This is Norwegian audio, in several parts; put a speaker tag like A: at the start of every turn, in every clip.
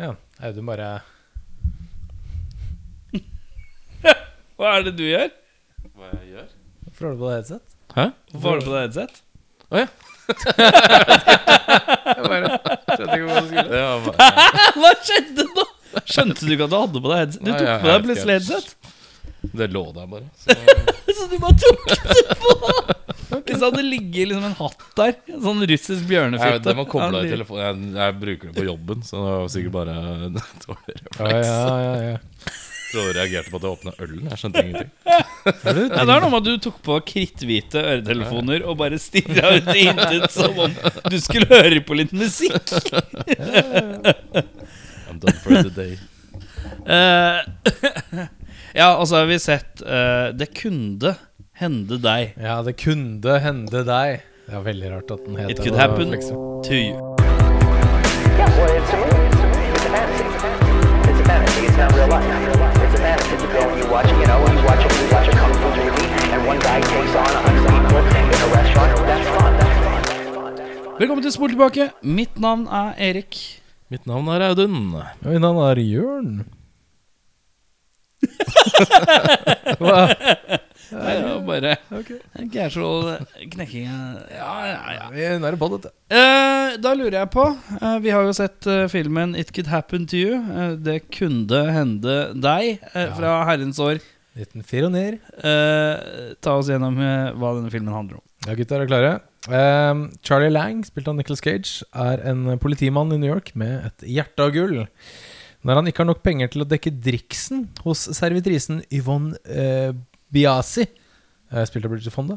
A: Ja, Audun bare
B: Hva er det du gjør?
C: Hva jeg gjør?
A: Hvorfor har du på deg headset?
C: Hæ?
B: Hvorfor har du på deg headset?
C: Det var bare,
B: Hva skjedde nå? Skjønte du ikke at du hadde på deg headset? Du
C: Nei,
B: tok
C: jeg
B: på
C: vet
B: deg plutselig
C: ikke.
B: headset.
C: det lå der bare. Så
B: Så du bare tok det på. Hvis det hadde ligget liksom en hatt der, en sånn russisk
C: jeg,
B: bjørnefitte
C: den var kobla i
B: Ja,
C: telefonen. Jeg, jeg bruker den på jobben, så det var sikkert bare en dårlig
A: Ja,
C: refleks.
A: ja, ja, ja.
C: Jeg tror jeg reagerte på at jeg åpna ølen. Jeg skjønte ingenting.
B: Ja, det er noe med at du tok på kritthvite øretelefoner og bare stirra ut i intet som om du skulle høre på litt musikk.
C: I'm done for the day.
B: Eh, ja, og så har vi sett eh, Det kunne hende deg.
A: Ja, det kunne hende deg. Det er veldig rart at den heter
B: It could happen
A: liksom.
B: to you.
D: Yeah, well, it's a movie. It's a movie. It's a fantasy. It's a fantasy. It's not real life. It's a fantasy. It's a film you watch. You know, you watch a you watch a kung fu movie, and one guy takes on a hundred people in a restaurant. That's fun. That's fun. That's fun. That's fun.
B: Velkommen til Spol tilbake. Mitt navn er Erik.
C: Mitt navn er Audun.
A: Ja, men han er Jørn. Hva?
B: Nei, det var bare casual knekking. Ja, ja, ja.
A: Vi er nære på dette.
B: Eh, da lurer jeg på eh, Vi har jo sett eh, filmen 'It Could Happen To You'. eh, det kunne hende deg, eh,
A: Ja.
B: fra herrens år.
A: 1904 og ned.
B: Eh, ta oss gjennom eh, hva denne filmen handler om.
A: Ja, gutter er klare. Ehm, Charlie Lang, spilt av Nicholas Cage, er en politimann i New York med et hjerte av gull. Når han ikke har nok penger til å dekke driksen hos servitrisen Yvonne eh, Biasi, eh, spilt av Bridget Fonda,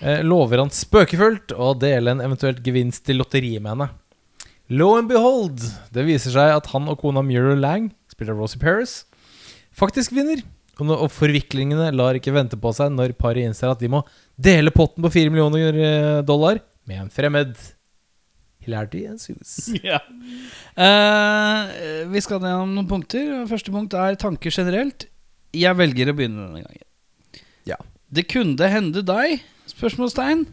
A: eh, lover han spøkefullt å dele en eventuelt gevinst til lotteriet med henne. Lo and behold, det viser seg at han og kona Muriel Lang, spilt av Rosie Paris, faktisk vinner. Og nå- Og forviklingene lar ikke vente på seg når paret innser at de må dele potten på 4 millioner eh, dollar med en fremmed. Hilarity ensues.
B: Eh, vi skal gjennom noen punkter. Første punkt er tanker generelt. Jeg velger å begynne denne gangen.
A: Ja.
B: Det kunne hende deg? Spørsmålstegn.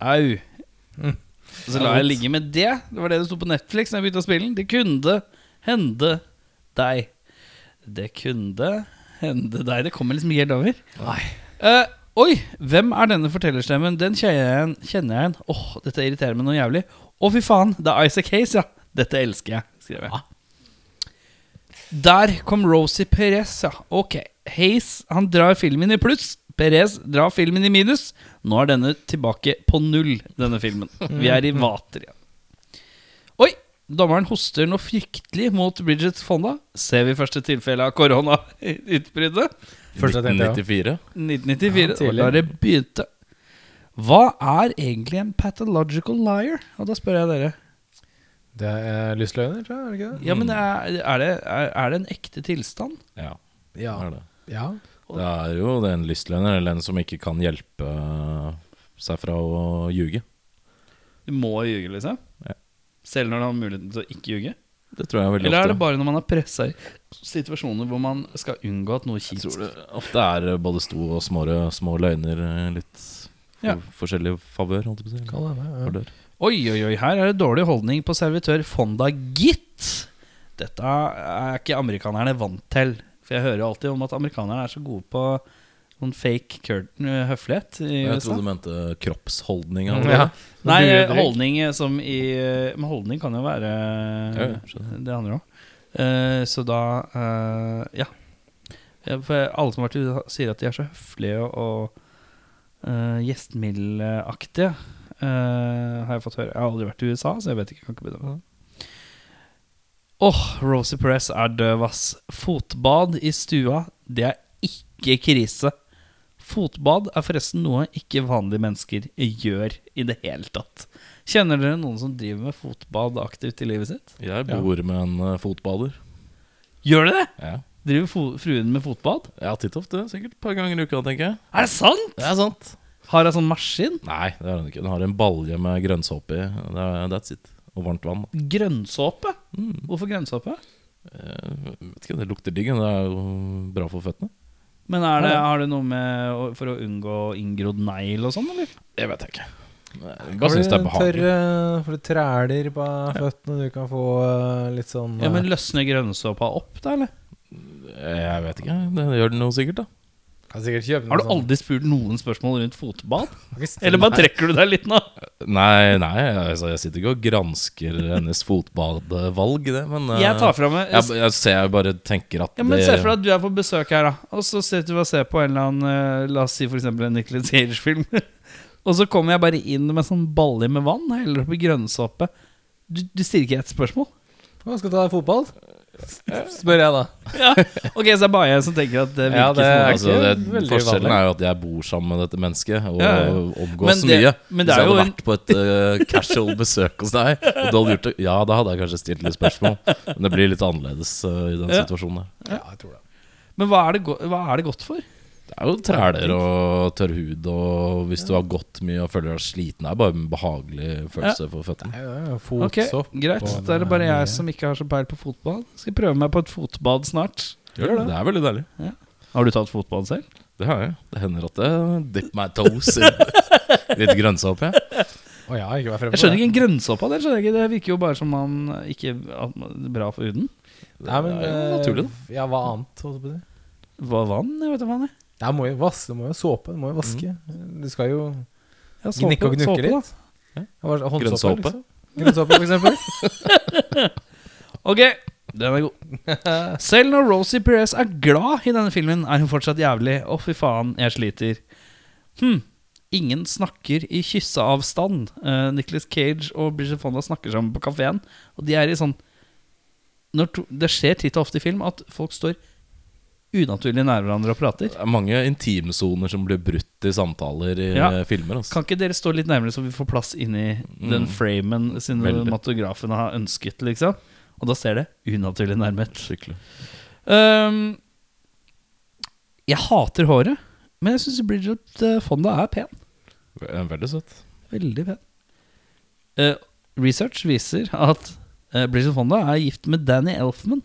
B: Au.
A: Mm.
B: Så la jeg ligge med det. Det var det det sto på Netflix da jeg begynte å spille den. Det kunne hende deg. Det kunne hende deg. Det kommer liksom ikke helt over.
A: Nei.
B: Eh, oi, hvem er denne fortellerstemmen? Den kjenner jeg igjen. Kjenner jeg igjen. Åh, dette irriterer meg noe jævlig. Å, fy faen, det er Isaac Hayes, ja. Dette elsker jeg, skrev jeg. Der kom Rosie Perez, ja. Ok. Hayes, han drar filmen i pluss. Perez drar filmen i minus. Nå er denne tilbake på null, denne filmen. Vi er i vater igjen. Oi! Dommeren hoster noe fryktelig mot Bridget Fonda. Ser vi første tilfelle av koronautbruddet.
A: Første jeg tenkte, ja.
C: 1994.
B: 1994.
A: Ja,
B: det var
A: tidlig.
B: da det begynte. Hva er egentlig en pathological liar? Og da spør jeg dere.
A: Det er lystløgner, tror jeg? er det ikke det?
B: Ja, men er, er, det, er, er det en ekte tilstand?
C: Ja,
A: Ja.
C: det er det.
A: ja.
C: Det er jo det er en lystløgner, eller en som ikke kan hjelpe øh, seg fra å ljuge.
B: Du må ljuge, liksom?
C: Ja.
B: Selv når du har muligheten til å ikke ljuge?
C: Det tror jeg veldig
B: Eller er det
C: ofte.
B: bare når man er pressa i situasjoner hvor man skal unngå at noe kjipt
C: Jeg tror det ofte er øh, både sto og små, små løgner, eh, litt for,
B: Ja.
C: forskjellig favør, holdt jeg på å si.
A: Kan hende. ja.
C: Favør.
B: Oi, oi, oi, her er det dårlig holdning på servitør Fonda Gitt. Dette er ikke amerikanerne vant til. For jeg hører jo alltid om at amerikanerne er så gode på sånn fake curtain eh, høflighet i
C: Jeg
B: USA.
C: trodde du mente kroppsholdninga.
A: Ja.
B: Nei,
A: Duer
B: eh,
A: drikk.
B: holdning eh, som i eh, Men holdning kan jo være
C: Ja, ja, skjønner.
B: det andre òg. Så da eh, Ja. Ja, For alle som har vært i USA, sier at de er så høflige og uh, gjestmildaktige. eh, har jeg fått høre. Jeg har aldri vært i USA, så jeg vet ikke. Jeg kan ikke bedømme det. Åh, Rosie Perez er døv, ass. Fotbad i stua, det er ikke krise. Fotbad er forresten noe ikke vanlige mennesker gjør i det hele tatt. Kjenner dere noen som driver med fotbad aktivt i livet sitt?
C: Jeg bor med en eh, fotbader.
B: Gjør dere det?
C: Ja.
B: Driver fo- fruen med fotbad?
C: Ja, titt ofte. Sikkert et par ganger i uka, tenker jeg.
B: Er det sant?
C: Det er sant.
B: Har hun sånn maskin?
C: Nei, det har hun ikke. Hun har en balje med grønnsåpe i. Det er- That's it. Og varmt vann.
B: Grønnsåpe?
C: Mm.
B: Hvorfor grønnsåpe?
C: Jeg vet ikke, det lukter digg. men Det er jo bra for føttene.
B: Men er det, har det noe med å- for å unngå inngrodd negl og sånn, eller?
C: Det vet jeg ikke. Jeg bare syns det er behagelig.
A: Tørre, for du træler på føttene, du kan få eh, litt sånn
B: Ja, men
A: eh,
B: løsner grønnsåpa opp, da, eller?
C: Jeg vet ikke. Det gjør det noe sikkert, da.
A: Kan sikkert kjøpe
B: Har
A: noe
B: du
A: sånn-
B: aldri spurt noen spørsmål rundt fotbad?
A: Kan ikke stille-
B: Eller bare trekker du deg litt nå?
C: Nei, nei, altså, jeg sitter ikke og gransker hennes fotbadvalg, det, men eh,
B: Jeg tar fra meg
C: jeg, jeg ser jeg bare tenker at
B: Ja, men
C: det
B: Se for deg at du er på besøk her, da. Og så sitter du og ser på en eller annen eh, La oss si f.eks. en Nicolas Cage-film. og så kommer jeg bare inn med sånn baller med vann. Jeg Heller oppi grønnsåpe. Du, du stiller ikke ett spørsmål?
A: Å, Skal du ta deg fotball? S- Spør jeg, da.
B: Ja. Ok, så er det bare jeg som tenker at det virker
A: Ja, det
B: som
A: er
C: altså, det,
A: ikke veldig
C: Forskjellen
A: vanlig.
C: er jo at jeg bor sammen med dette mennesket og
B: Ja, ja. Men
C: omgås
B: det-
C: mye.
B: men det er
C: Hvis jeg hadde
B: jo en-
C: vært på et eh, casual besøk hos deg, og du hadde gjort det, ja, da hadde jeg kanskje stilt litt spørsmål. Men det blir litt annerledes eh, i den
B: Ja.
C: situasjonen der.
A: Ja, jeg tror det.
B: Men hva er, det, go- hva er det godt for?
C: Det er jo træler og tørr hud, og hvis du har gått mye og føler deg sliten, det er bare en behagelig følelse for føttene.
A: Nei, det er jo
B: Ok,
A: Fotsopp.
B: Greit,
A: og
B: da er det bare
A: mye.
B: jeg som ikke har så peil på fotball. Skal jeg prøve meg på et fotbad snart.
C: Gjør det. det er veldig deilig.
B: Har du tatt fotbad selv?
C: Det har jeg. Det hender at jeg dip my toes i litt grønnsåpe. jeg.
A: Å ja, ikke vær fremme
B: Jeg skjønner ikke en grønnsåpe av det. skjønner jeg ikke Det virker jo bare som man ikke at man, det er bra for huden.
A: Nei, men,
C: Det er jo
A: eh,
C: naturlig, da.
A: Ja, hva annet? holdt jeg på å si?
B: Hva vann? Jeg vet ikke hva det er.
A: Det må jo vaske, du må jo såpe, du må jo vaske. Du skal jo
B: Ja,
A: gnikke og gnukke
B: da.
A: litt. Ja, hva- håndsåpe,
C: Grønnsåpe.
A: liksom. Grønnsåpe, for eksempel.
B: Ok, den er god. Selv når Rosie Perez er glad i denne filmen, er hun fortsatt jævlig. Å, fy faen, jeg sliter. Hm. Ingen snakker i kysseavstand. Uh, Nicholas Cage og Bridget Fonda snakker sammen på kafeen, og de er i sånn når to, Det skjer titt og ofte i film at folk står unaturlig nær hverandre og prater.
C: Det er mange intimsoner som blir brutt i samtaler i
B: Ja.
C: eh, filmer. Altså.
B: Kan ikke dere stå litt nærmere, så vi får plass inni den framen cinematografen har ønsket? liksom Og da ser det unaturlig nærme ut.
C: Skikkelig.
B: Ehm, jeg hater håret, men jeg syns Bridget eh, Fonda er pen.
C: Eh, Veldig søtt.
B: Veldig pen. Eh, research viser at eh, Bridget Fonda er gift med Danny Elfman.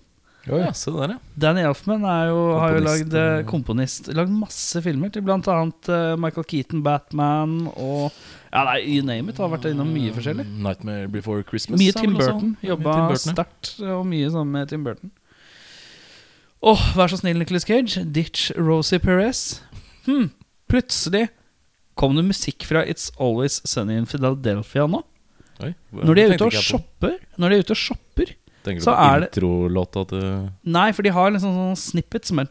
A: Oi.
C: Ja, se der, ja.
B: Danny Elfman er jo, har jo
C: Komponist,
B: lagd eh, komponist Lagd masse filmer til blant annet eh, Michael Keaton, Batman og Ja, nei, you name it. Har vært innom mye forskjellig.
C: Mm, Nightmare Before Christmas.
B: Mye
C: er
B: Tim
C: vel også-
B: Burton.
C: Ja, mye
B: Jobba
C: Tim Burton, ja.
B: sterkt og mye sammen med Tim Burton. Åh, vær så snill, Nicholas Cage. Ditch Rosie Perez. Hm, plutselig kom det musikk fra It's Always Sunny in Philadelphia nå.
C: Oi, hva-
B: Når de er
C: tenkte
B: ute og
C: ikke jeg på.
B: shopper Når de er ute og shopper
C: Tenker du
B: så
C: på
B: er det-
C: introlåta til
B: Nei, for de har liksom sånn eh, snippet som er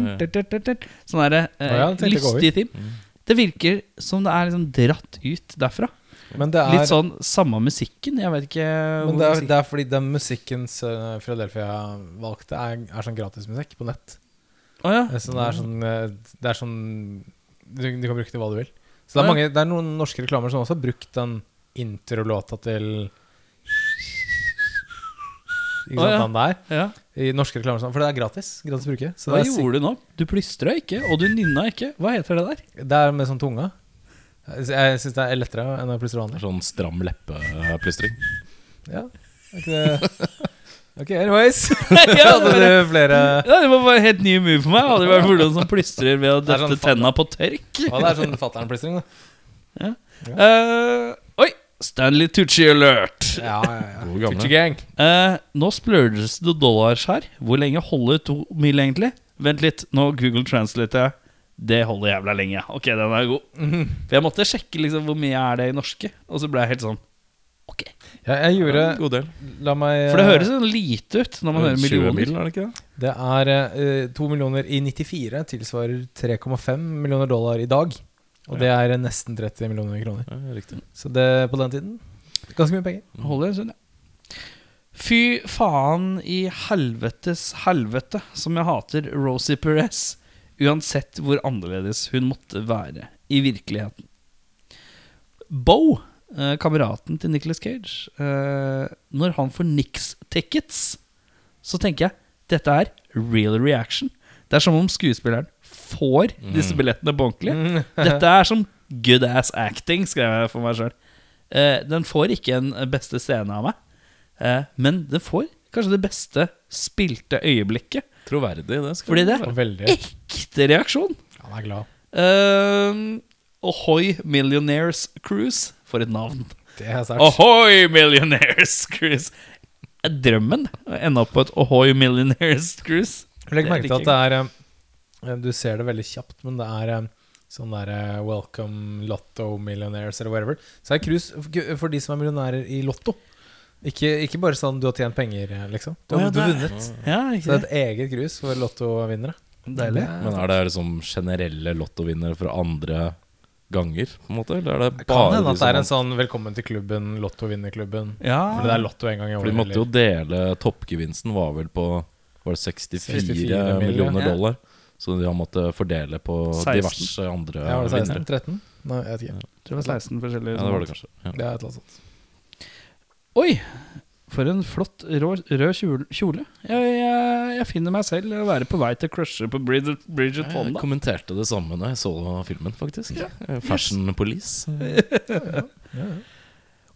B: Sånn derre
A: Å ja, det tenkte jeg ikke over. Mm.
B: lystig theme. Det virker som det er liksom dratt ut derfra.
A: Men det er,
B: Litt sånn samme musikken. Jeg vet ikke
A: men
B: Eh,
A: det
B: hvor
A: er,
B: musikken-
A: det er fordi den musikken som Philadelphia valgte, er, er sånn gratismusikk på nett.
B: Å ja.
A: Så det er sånn, eh, det er sånn du, du kan bruke det hva du vil. Så det
B: Ja.
A: er, mange, det er noen norske reklamer som også har brukt den introlåta til Ikke sant,
B: Å, ja.
A: den der.
B: ja.
A: I norske reklamer, sånn, for det er gratis. Gratis å bruke. Så
B: Hva
A: det er,
B: gjorde du nå? Du plystra ikke, og du nynna ikke. Hva heter det der?
A: sikk- det er med sånn tunga. Jeg sy- Jeg syns det er lettere enn å plystre vanlig.
C: Sånn stram eh, leppeplystring.
A: Ja. Er ikke det Ok, anyways.
B: ja,
A: Hadde
B: det,
A: du flere
B: var bare helt ny move for meg. Jeg Hadde vært hvordan som plystrer ved å
A: Det er
B: dette
A: sånn faen-
B: tenna på tørk.
A: Ja, det er sånn fatter'n-plystring, da.
B: Eh, oi! Stanley Tucci alert!
A: Ja, ja, ja.
C: God gamle.
A: Gucci gang.
B: Eh, nå splurges det dollars her. Hvor lenge holder to mil, egentlig? Vent litt, nå Google translater jeg. Det holder jævla lenge. Ok, den er god.
A: Mhm.
B: For jeg måtte sjekke liksom hvor mye er det i norske, og så ble jeg helt sånn Ok.
A: Ja, jeg gjorde
C: En God del.
A: La meg eh,
B: For det høres sånn lite ut når man hører
C: 20
B: millioner.
C: mil, er det ikke det?
A: Det er eh, 2 millioner i 94 tilsvarer 3,5 millioner dollar i dag. Og det er eh, nesten 30 millioner kroner.
C: Ja, riktig.
A: Så det på den tiden Ganske mye penger.
B: Holder en stund, ja. Fy faen i helvetes helvete som jeg hater Rosie Perez, uansett hvor annerledes hun måtte være i virkeligheten. Bo, eh, kameraten til Nicholas Cage, eh, når han får Nix-tickets, så tenker jeg dette er real reaction. Det er som om skuespilleren får disse billettene på ordentlig.
A: Mm. Mhm.
B: Dette er som good ass acting, skrev jeg for meg sjøl. Den får ikke en beste scene av meg, eh, men den får kanskje det beste spilte øyeblikket.
C: Troverdig, det. skal
B: Fordi det
A: Og
B: er
A: veldig
B: ekte reaksjon.
A: Han er glad.
B: Eh, Ahoy Millionaires Cruise. For et navn.
A: Det er sært.
B: Ahoy Millionaires Cruise. Det er Drømmen å ende opp på et Ahoy Millionaires Cruise.
A: Legg
B: Det
A: merke til
B: liker
A: at det er eh, Du ser det veldig kjapt, men det er eh, sånn der eh, Welcome Lotto Millionaires eller whatever. Så er cruise f- for de som er millionærer i Lotto. Ikke, ikke bare sånn du har tjent penger, eh, liksom. Du har
B: Å, ja,
A: du har
B: det-
A: vunnet.
B: Ja,
A: Så det
B: ikke
A: er
B: det?
A: et eget cruise for lottovinnere.
B: Deilig.
C: Men er det liksom generelle lottovinnere fra andre ganger, på en måte? Eller er det
A: Det kan
C: bare
A: hende
C: de
A: at det er en
C: som
A: sånn velkommen til klubben, lottovinnerklubben.
B: Ja.
A: Fordi det er lotto en gang i
C: For de
A: året.
C: måtte jo
A: eller-
C: dele Toppgevinsten var vel på var det 64,
A: 64
C: millioner
B: ja.
C: dollar. Så de har måttet fordele på
B: 16.
C: diverse andre
A: Ja, var det 16?
C: vinnere.
A: 13? Nei, jeg vet ikke.
B: Jeg tror det var 16 forskjellige.
C: Ja, det var det kanskje. Ja.
A: Det er et eller annet sånt.
B: Oi! For en flott rå, rød kjole. kjole. Jeg, jeg, jeg finner meg selv å være på vei til å crushe på Bridget, Bridget
C: Jeg
B: Fonda.
C: kommenterte det samme når jeg så filmen, faktisk. Eh, Fashion Police.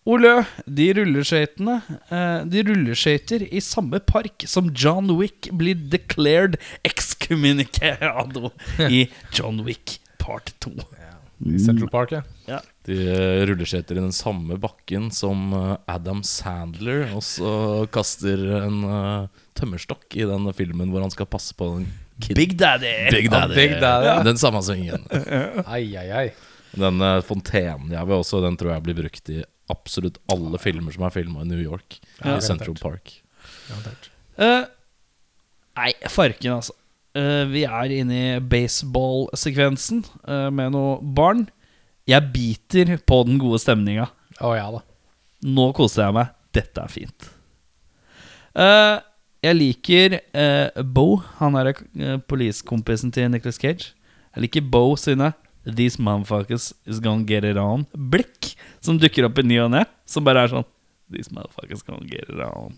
B: Olø, de rulleskøytene eh, De rulleskøyter i samme park som John Wick blir declared excommunicado i John Wick part 2.
A: I Central Park, ja.
C: De eh, rulleskøyter i den samme bakken som eh, Adam Sandler også kaster en eh, tømmerstokk i den filmen hvor han skal passe på den kid.
B: Big Daddy!
C: Big
A: Ja, Big Daddy, ja.
C: Den samme svingen.
B: Mm.
A: Ai, ai, ai.
C: Den eh, fontenen jeg vil også, den tror jeg blir brukt i absolutt alle filmer som er filma i New York.
A: Ja.
C: I Central Park.
A: Garantert.
B: Eh, nei, farken, altså. Eh, vi er inne i baseballsekvensen uh, med noe barn. Jeg biter på den gode stemninga.
A: Å ja da.
B: Nå koser jeg meg. Dette er fint. Eh, jeg liker eh, Bo, han er uh, poliskompisen til Nicholas Cage. Jeg liker Bo sine These motherfuckers is gonna get it on. Blikk som dukker opp i ny og ne, som bare er sånn These motherfuckers gonna get it on.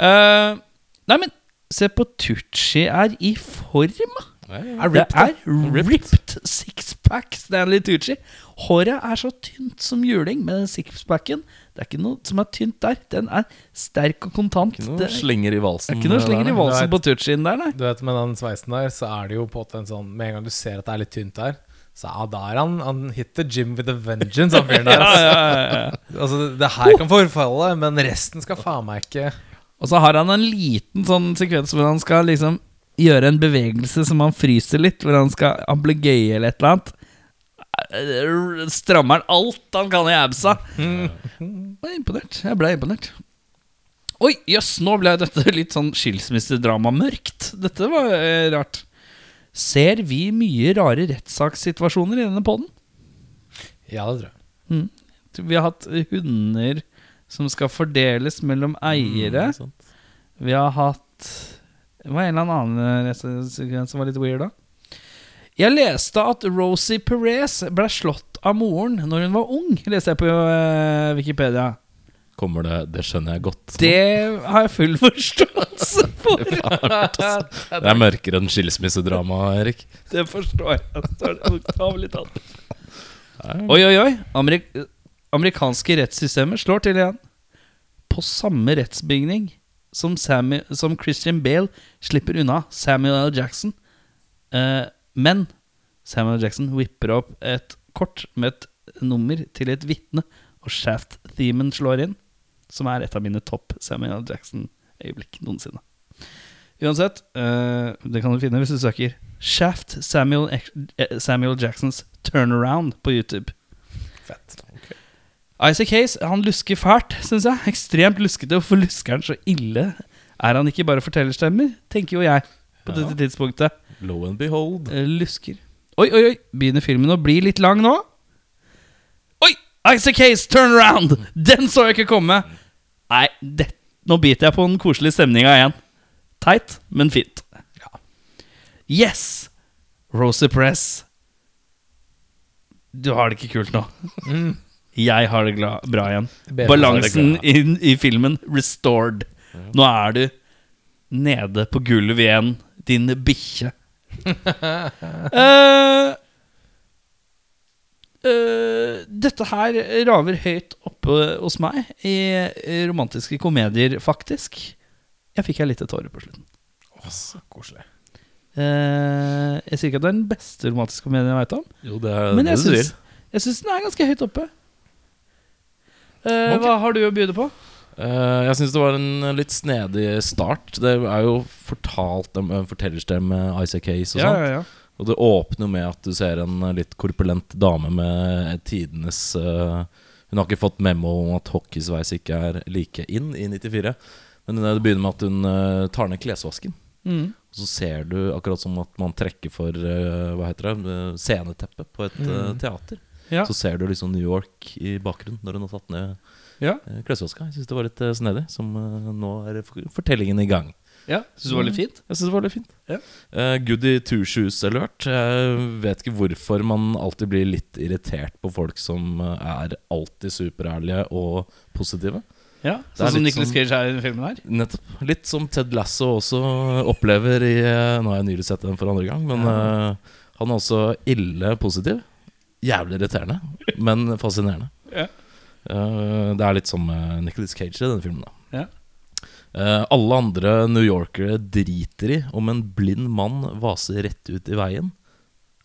B: Eh, nei, men se på Tucci er i form.
A: Er
B: Det
A: ripped, da.
B: er ripped sixpack Stanley Tucci. Håret er så tynt som juling, men den sixpacken Det er ikke noe som er tynt der. Den er sterk og kontant.
C: Ikke noe
B: det,
C: slenger i
B: det er
C: valsen. eh,
B: ikke noe
C: der,
B: slenger i
C: nei.
A: Det
B: valsen
A: er-
B: på Tuccien der, nei.
A: Du vet, Med den sveisen der, så er det jo på en sånn Med en gang du ser at det er litt tynt der, så ja, da er han Han hit the gym with a vengeance, han fyren der.
B: Ja,
A: Altså.
B: ja, ja, ja.
A: Altså, det her kan forfalle, men resten skal faen meg ikke
B: Og så har han en liten sånn sekvens hvor han skal liksom gjøre en bevegelse som han fryser litt, hvor han skal han blir gøy eller et eller annet. Eh, Strammer han alt han kan i absa. Jeg ble imponert. Jeg ble imponert. Oi, jøss, nå ble dette litt sånn skilsmissedrama-mørkt. Dette var eh, rart. Ser vi mye rare rettssakssituasjoner i denne poden?
A: Ja, det tror jeg.
B: Vi har hatt hunder som skal fordeles mellom eiere.
C: Ikke sant?
B: Vi har hatt Det var en eller annen restsekvens som var litt weird, da. Jeg leste at Rosie Perez ble slått av moren når hun var ung, leste jeg på eh, Wikipedia.
C: Kommer det Det skjønner jeg godt.
B: Det har jeg full forståelse for.
C: Det er mørkere enn skilsmissedrama, Erik.
B: Det forstår jeg. Det er bokstavelig talt. Oi, oi, oi. Amerik amerikanske rettssystemer slår til igjen. På samme rettsbygning som, Samu som Christian Bale slipper unna Samuel L. Jackson. Eh, men Samuel L. Jackson whipper opp et kort med et nummer til et vitne, og Shaft-themen slår inn, som er et av mine topp Samuel L. Jackson-øyeblikk noensinne. Uansett, eh, det kan du finne hvis du søker Shaft Samuel, Ex- eh, Samuel Jacksons Turnaround på YouTube.
A: Fett.
B: Isaac Hayes han lusker fælt, syns jeg. Ekstremt luskete. Hvorfor lusker han så ille? Er han ikke bare fortellerstemmer? Tenker jo jeg på dette tidspunktet.
C: Low and behold.
B: Eh, Lusker. Oi, oi, oi! Begynner filmen å bli litt lang nå? Oi! Isaac Hayes, turnaround! Den så jeg ikke komme! Nei, det, nå biter jeg på den koselige stemninga igjen. Teit, men fint. Yes! Rosie Press. Du har det ikke kult nå. Mm. Jeg har det gla bra igjen.
A: Bedre
B: Balansen inn i filmen restored. Nå er du nede på gulvet igjen, din bikkje. Eh, eh, dette her raver høyt oppe hos meg i eh, romantiske komedier, faktisk. Jeg fikk ei lita tåre på slutten.
A: Koselig.
B: Eh, jeg sier ikke at det er den beste romantiske komedien jeg veit om,
C: Jo, det er
B: men
C: det
B: jeg
C: du sier.
B: syns, jeg syns den er ganske høyt oppe. Eh,
C: Ok.
B: Hva har du å bjude på?
C: Eh, jeg syns det var en litt snedig start. Det er jo fortalt om en fortellerstemme med Isaac Hayes og sånn.
B: ja.
C: Og det åpner jo med at du ser en eh, litt korpulent dame med tidenes eh, Hun har ikke fått memo om at hockeysveis ikke er like inn i 94, men det begynner med at hun eh, tar ned klesvasken.
B: Mm.
C: Og så ser du akkurat som at man trekker for eh, hva heter det, eh, sceneteppet på et eh, teater.
B: Ja.
C: Så ser du liksom New York i bakgrunnen når hun har tatt ned
B: Ja.
C: eh, klesvaska. Jeg syns det var litt eh, snedig. Som eh, nå er f- fortellingen i gang.
B: ja. Syns du det var litt fint?
C: Jeg synes det var litt fint.
B: Ja.
C: Eh, goody two shoes alert. Jeg vet ikke hvorfor man alltid blir litt irritert på folk som eh, er alltid superærlige og positive.
B: Ja.
C: Det er
B: Sånn som
C: litt
B: Nicholas
C: sånn-
B: Cage er i den filmen her?
C: Nettopp. Litt som Ted Lasso også opplever i eh, Nå har jeg nylig sett den for andre gang, men eh, han er også ille positiv. Jævlig irriterende, men fascinerende.
B: Ja.
C: Eh, det er litt som eh, Nicolas Cage i denne filmen, da.
B: Ja.
C: Eh, alle andre New Yorkere driter i om en blind mann vaser rett ut i veien.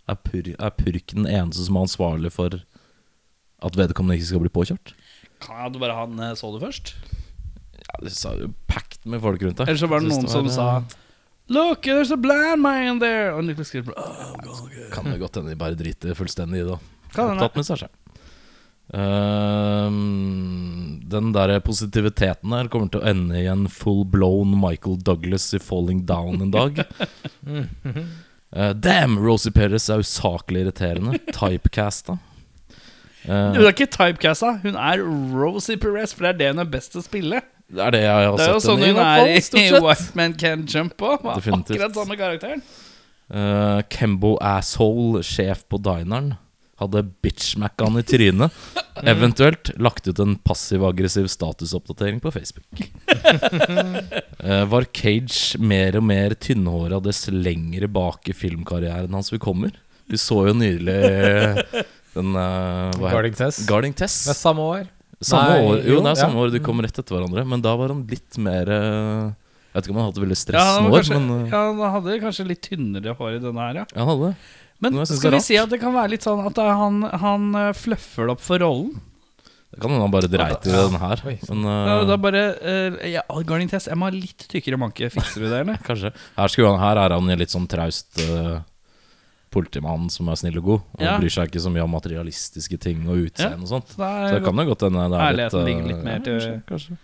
C: Er, pur er purken den eneste som er ansvarlig for at vedkommende ikke skal bli påkjørt?
B: Kan du bare han eh, så det først?
C: Ja, det sa jo packed med folk rundt deg.
B: Eller så var det
C: Jeg synes
B: noen som
C: eh,
B: sa Look, there's a blind man there! Og Nicholas Cage bare oh, God.
C: Kan det godt hende de bare driter fullstendig i det.
B: Kan hende.
C: Opptatt med seg selv. Ehm, den der positiviteten her kommer til å ende i en full blown Michael Douglas i Falling Down en dag. Eh, damn, Rosie Perez er usaklig irriterende. Typecasta. Eh,
B: Hun er ikke typecasta, hun er Rosie Perez, for det er det hun er best til å spille.
C: det er det jeg har
B: Det er jo
C: sett
B: sånn
C: henne i,
B: hun
C: i hvert
B: er i
C: fall. Stort sett.
B: White Man Can Jump på.
C: Definitivt.
B: Akkurat samme karakteren.
C: Eh, Kembo Asshole, sjef på dineren, hadde bitchmackan i trynet.
B: Mm.
C: Eventuelt lagt ut en passiv-aggressiv statusoppdatering på Facebook. Eh, var Cage mer og mer tynnhåra dess lengre bak i filmkarrieren hans vi kommer? Vi så jo nylig eh, den eh, hva heter-
A: Guarding Tess.
C: Guarding Tess.
A: Det er samme år.
C: Samme
A: Nei,
C: år, jo,
A: jo,
C: det er
A: ja.
C: samme år de kom rett etter hverandre, men da var han litt mer eh, Jeg vet ikke om han hadde veldig
B: Ja,
C: stress
B: han,
C: nå,
B: var kanskje,
C: men eh,
B: ja, han hadde kanskje litt tynnere hår i denne her, ja.
C: ja, han hadde det.
B: Men
C: Noe jeg synes
B: skal
C: er
B: vi si at det kan være litt sånn at eh, han, han eh, fluffer det opp for rollen?
C: Det kan hende han bare dreit i den her.
A: Oi.
C: Men
B: Da,
C: eh,
B: da bare eh, ja, Garning Tess, jeg må ha litt tykkere manke. Fikser du det, eller?
C: kanskje. Her, skulle han, her er han en litt sånn traust eh, politimann som er snill og god. Han
B: Ja.
C: bryr seg ikke så mye om materialistiske ting og utseende og sånt.
B: Så da
C: Så
B: er-
C: det kan jo godt hende det er litt,
B: Ærligheten
C: eh,
B: ligger litt mer til-
C: ja, kanskje, kanskje.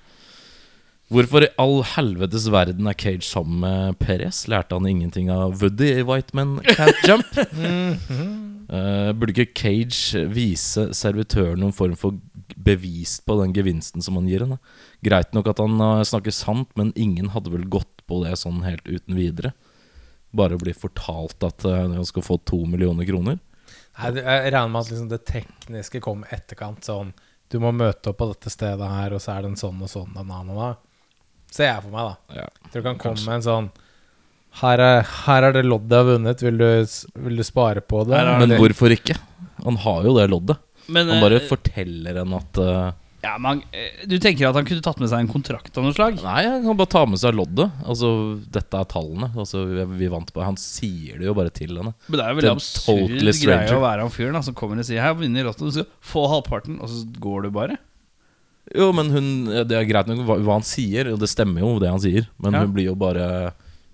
C: Hvorfor i all helvetes verden er Cage sammen med Perez? Lærte han ingenting av Woody i White Men Can't Jump? Eh, burde ikke Cage vise servitøren noen form for bevis på den gevinsten som han gir henne? Greit nok at han eh, snakker sant, men ingen hadde vel gått på det sånn helt uten videre? Bare å bli fortalt at eh, han skal få to millioner kroner?
A: Nei, det- jeg regner med at liksom det tekniske kom i etterkant. Sånn Du må møte opp på dette stedet her, og så er det en sånn og sånn og na, na, na. Ser jeg for meg, da.
C: Ja.
A: Jeg tror du kan komme med en sånn her er, her er det loddet jeg har vunnet. Vil du, s- vil du spare på det?
B: Her er
C: Men
A: Eller-
C: hvorfor ikke? Han har jo det loddet.
B: Men,
C: Han bare
B: eh,
C: forteller henne at eh,
B: ja, men han- eh, Du tenker at han kunne tatt med seg en kontrakt av noe slag?
C: Nei, han kan bare ta med seg loddet. Altså, dette er tallene. Altså, vi, vi vant på Han sier det jo bare til henne.
B: Men det er jo
C: Det
B: veldig
C: er
B: absurd
C: totally stranger.
B: greie å være han fyren da, som kommer og sier 'Her vinner Lotto', du skal få halvparten, og så går du bare.
C: Jo, men hun Det er greit nok hva, hva han sier, og det stemmer jo, det han sier. Men
B: Ja.
C: hun blir jo bare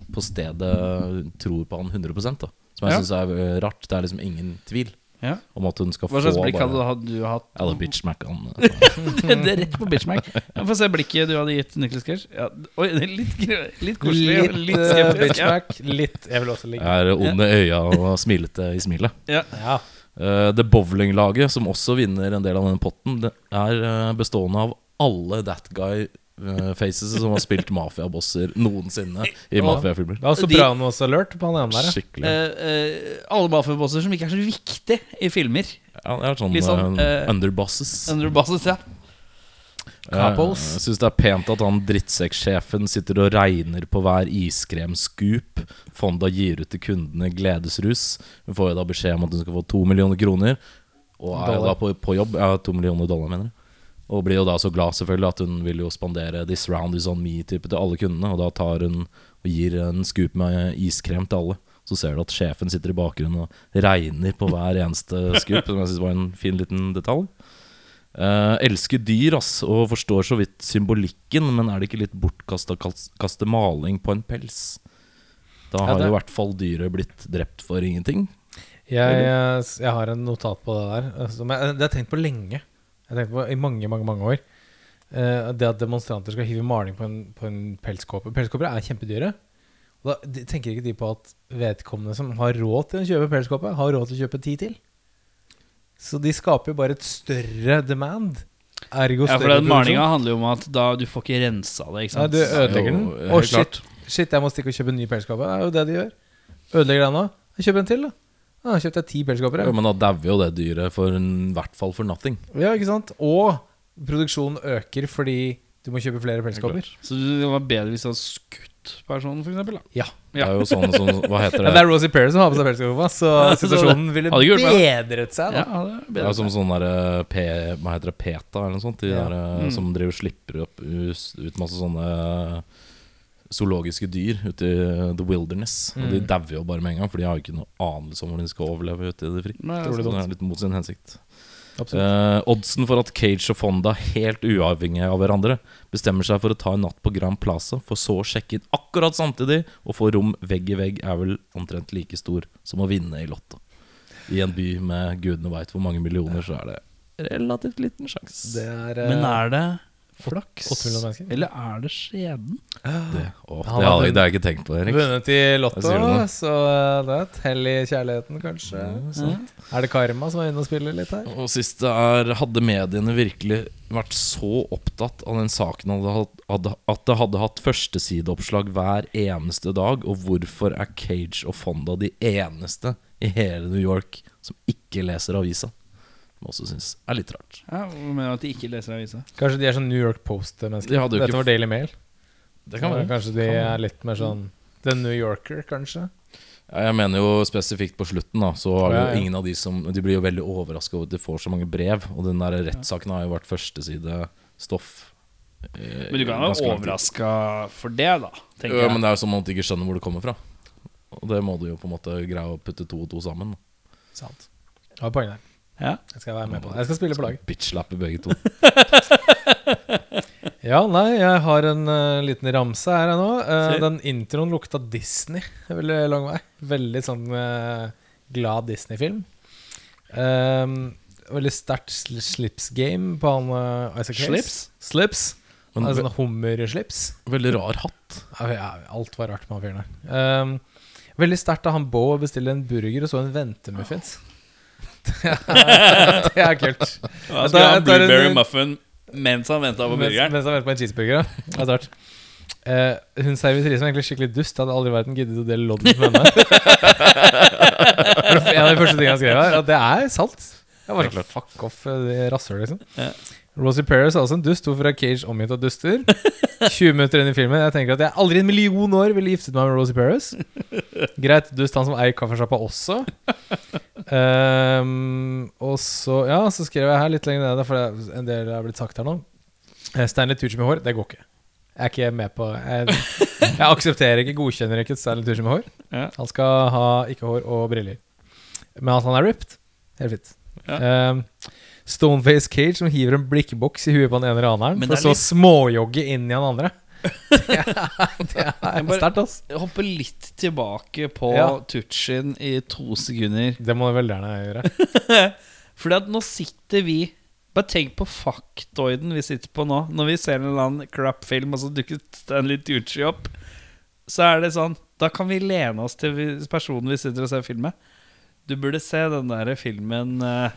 C: på stedet Tror på han 100 da. Som jeg
B: Ja.
C: synes syns er eh, rart. Det er liksom ingen tvil
B: Ja.
C: om at hun skal
B: Hva
C: få
B: slags blikk
C: bare-
B: hadde du- hadde du hatt?
C: Ja, det bitchmack han
B: det er rett på bitchmack. Få se blikket du hadde gitt Nicholas Cage. Ja, oi, det er litt, gre- litt koselig.
A: Litt,
B: og
A: litt
B: litt
C: eh,
B: skeptisk. Ja.
A: bitchback. Litt Jeg vil også ligge
C: er onde i øya og smilete i smilet.
B: Ja.
A: Ja.
C: Eh, Det bowlinglaget, som også vinner en del av den potten, det er eh, bestående av alle That Guy-faces som har spilt mafiabosser noensinne i mafiafilmer.
A: Det var også
B: De-
A: bra noe også alert på han ene der. ja.
C: Skikkelig.
B: Eh, eh, alle mafiabosser som ikke er så viktige i filmer.
C: Ja, det er sånn
B: litt sånn,
C: eh,
B: eh,
C: underbosses.
B: Underbosses, ja.
A: Capos.
C: Eh, Jeg syns det er pent at han drittsekksjefen sitter og regner på hver iskremscoop Fonda gir ut til kundene gledesrus. Hun får jo da beskjed om at hun skal få to millioner kroner. Og er jo
A: Dollar.
C: da på, på jobb. Ja, to millioner dollar, mener jeg. Og blir jo da så glad selvfølgelig at hun vil jo spandere 'This round is on me'-type til alle kundene. Og da tar hun og gir en scoop med iskrem til alle. Så ser du at sjefen sitter i bakgrunnen og regner på hver eneste skup. Som jeg synes var en fin liten detalj. Eh, elsker dyr ass, og forstår så vidt symbolikken, men er det ikke litt bortkasta å kas- kaste maling på en pels? Da har
A: det-
C: jo i hvert fall dyret blitt drept for ingenting.
A: Jeg, eh, s- jeg har en notat på det der. eh, Som jeg, det har jeg tenkt på lenge. Jeg har tenkt på I mange, mange mange år. Eh, det at demonstranter skal hive maling på en, på en pelskåpe. Pelskåper er kjempedyre. Og da de, tenker ikke de på at vedkommende som har råd til å kjøpe pelskåpe, har råd til å kjøpe ti til. Så de skaper jo bare et større demand. Ergo
B: Ja,
A: større
B: for den
A: produksjon.
B: malinga handler jo om at da du får ikke rensa det, ikke
A: Nei,
B: sant.
A: du ødelegger den.
C: Jo, helt
A: Å, shit, shit, jeg må stikke og kjøpe en ny pelskåpe. Det er jo det de gjør. Ødelegger den nå. Kjøp en til, da. Ja, kjøpte jeg ti pelskåper. jeg.
C: Jo, men da dauer jo det dyret for en, i hvert fall for nothing.
A: Ja, ikke sant? Og produksjonen øker fordi du må kjøpe flere pelskåper.
B: Så det var bedre hvis du hadde skutt personen, for eksempel. Da.
A: Ja.
B: Ja.
C: Det er jo sånn som Hva heter
A: Men
C: det?
A: det er Rosie Perez som har på seg pelskåpa, så situasjonen ville
B: Hadde ikke gjort
A: bedret seg.
B: Ja,
A: Da.
B: det er
C: Det
B: bedre.
C: er jo som sånn der eh, P, Hva heter det? PETA eller noe sånt? De
A: Ja.
C: der, eh,
B: Mm.
C: som driver og slipper opp us, ut masse sånne eh, zoologiske dyr ute i eh, the wilderness. Og
B: Mm.
C: de dauer jo bare med en gang, for de har jo ikke noe anelse om hvordan de skal overleve ute i det fri.
B: Nei,
C: Så
B: altså,
C: det er litt mot sin hensikt.
A: Absolutt.
C: Eh, oddsen for at Cage og Fonda, helt uavhengig av hverandre, bestemmer seg for å ta en natt på Grand Plaza, for så å sjekke inn akkurat samtidig og få rom vegg i vegg, er vel omtrent like stor som å vinne i Lotto. I en by med gudene veit hvor mange millioner, så er det relativt liten sjanse.
A: Det er, eh,
B: Men er det flaks?
A: åtte millioner mennesker.
B: Eller er det skjeden?
C: Det, Åh, det
A: Han
C: har
A: hadde
C: jeg, det har jeg ikke tenkt på, Erik.
A: vunnet i Lotto,
C: Hva sier du nå?
A: så eh, det er et hell i kjærligheten, kanskje. Mm. Er det karma som er inne og spiller litt her?
C: Og siste er Hadde mediene virkelig vært så opptatt av den saken hadde hatt- hadde- at det hadde hatt førstesideoppslag hver eneste dag? Og hvorfor er Cage og Fonda de eneste i hele New York som ikke leser avisa? Som jeg også syns er litt rart.
B: Ja, hva mener du at de ikke leser avisa?
A: Kanskje de er sånn New York Post-mennesker.
C: De hadde jo
A: Dette
C: ikke-
A: var Daily Mail.
C: Det kan være.
A: Kanskje de er litt mer sånn The New Yorker, kanskje.
C: Ja, Jeg mener jo spesifikt på slutten, da, så er det
A: Ja,
C: jo
A: ja.
C: ingen av de som De blir jo veldig overraska over at de får så mange brev, og den der rettssaken har jo vært førstesidestoff. eh,
B: Men du kan være
C: ganske lang tid.
B: overraska for det, da. Tenker
C: Ja,
B: jeg.
C: men det er jo som om man ikke skjønner hvor det kommer fra. Og det må du jo på en måte greie å putte to og to sammen. da.
A: Sant. Har poeng der.
B: Ja.
A: Jeg skal være med på det. Jeg skal spille på lag.
C: Bitch-slappe begge to.
A: Ja, nei, jeg har en eh, liten ramse her jeg nå. Eh,
B: Si.
A: den introen lukta Disney veldig lang vei. Veldig sånn eh, glad Disney-film. Ehm, veldig sterkt sl slips-game på han eh, Isaac Hayes.
B: Slips?
A: Slips.
C: Men
A: Han er sånn hummerslips.
C: Veldig rar hatt.
A: Ja, ja, alt var rart med han fyren der. Ehm, veldig sterkt av han Bo å bestille en burger og så en ventemuffins. Det er kult.
B: Ja,
A: Da-
B: Skulle ha
A: da er det-
B: blueberry muffin mens han venta på
A: Mens,
B: burgeren.
A: mens han venter på en cheeseburger, ja. Det er rart. Eh, hun servitrisen er egentlig skikkelig dust. Jeg hadde aldri i verden giddet å dele lodden med henne. Det var en av de første tingene jeg skrev her. Og det er sant. Jeg var sånn fuck off, eh, det rasshøl, liksom.
B: Ja.
A: Rosie Perez er også en dust. Hvorfor er Cage omgitt av duster? 20 minutter inn i filmen. Jeg tenker at jeg aldri i en million år ville giftet meg med Rosie Perez. Greit, dust han som eier kaffesjappa også. Ehm, og så Ja, så skrev jeg her litt lenger nede, for det er en del er blitt sagt her nå. Eh, Stanley Tucci med hår, det går ikke. Jeg er ikke med på Jeg, jeg aksepterer ikke, godkjenner ikke Stanley Tucci med hår.
B: Ja.
A: Han skal ha ikke hår og briller. Men at han er ripped, helt fint.
B: Ja.
A: Ehm, Stoneface Cage som hiver en blikkboks i huet på den ene raneren,
B: Men
A: for
B: det
A: så å
B: er
A: småjogge inn i han andre. Det er, det
B: bare-
A: er sterkt, ass.
B: Jeg hopper litt tilbake på
A: Ja.
B: Tutsjin i to sekunder.
A: Det må du veldig gjerne gjøre.
B: Fordi at nå sitter vi Bare tenk på faktoiden vi sitter på nå. Når vi ser en eller annen crap-film, og så dukker Stanley Tucci opp, så er det sånn Da kan vi lene oss til vi- personen vi sitter og ser film med. Du burde se den der filmen eh,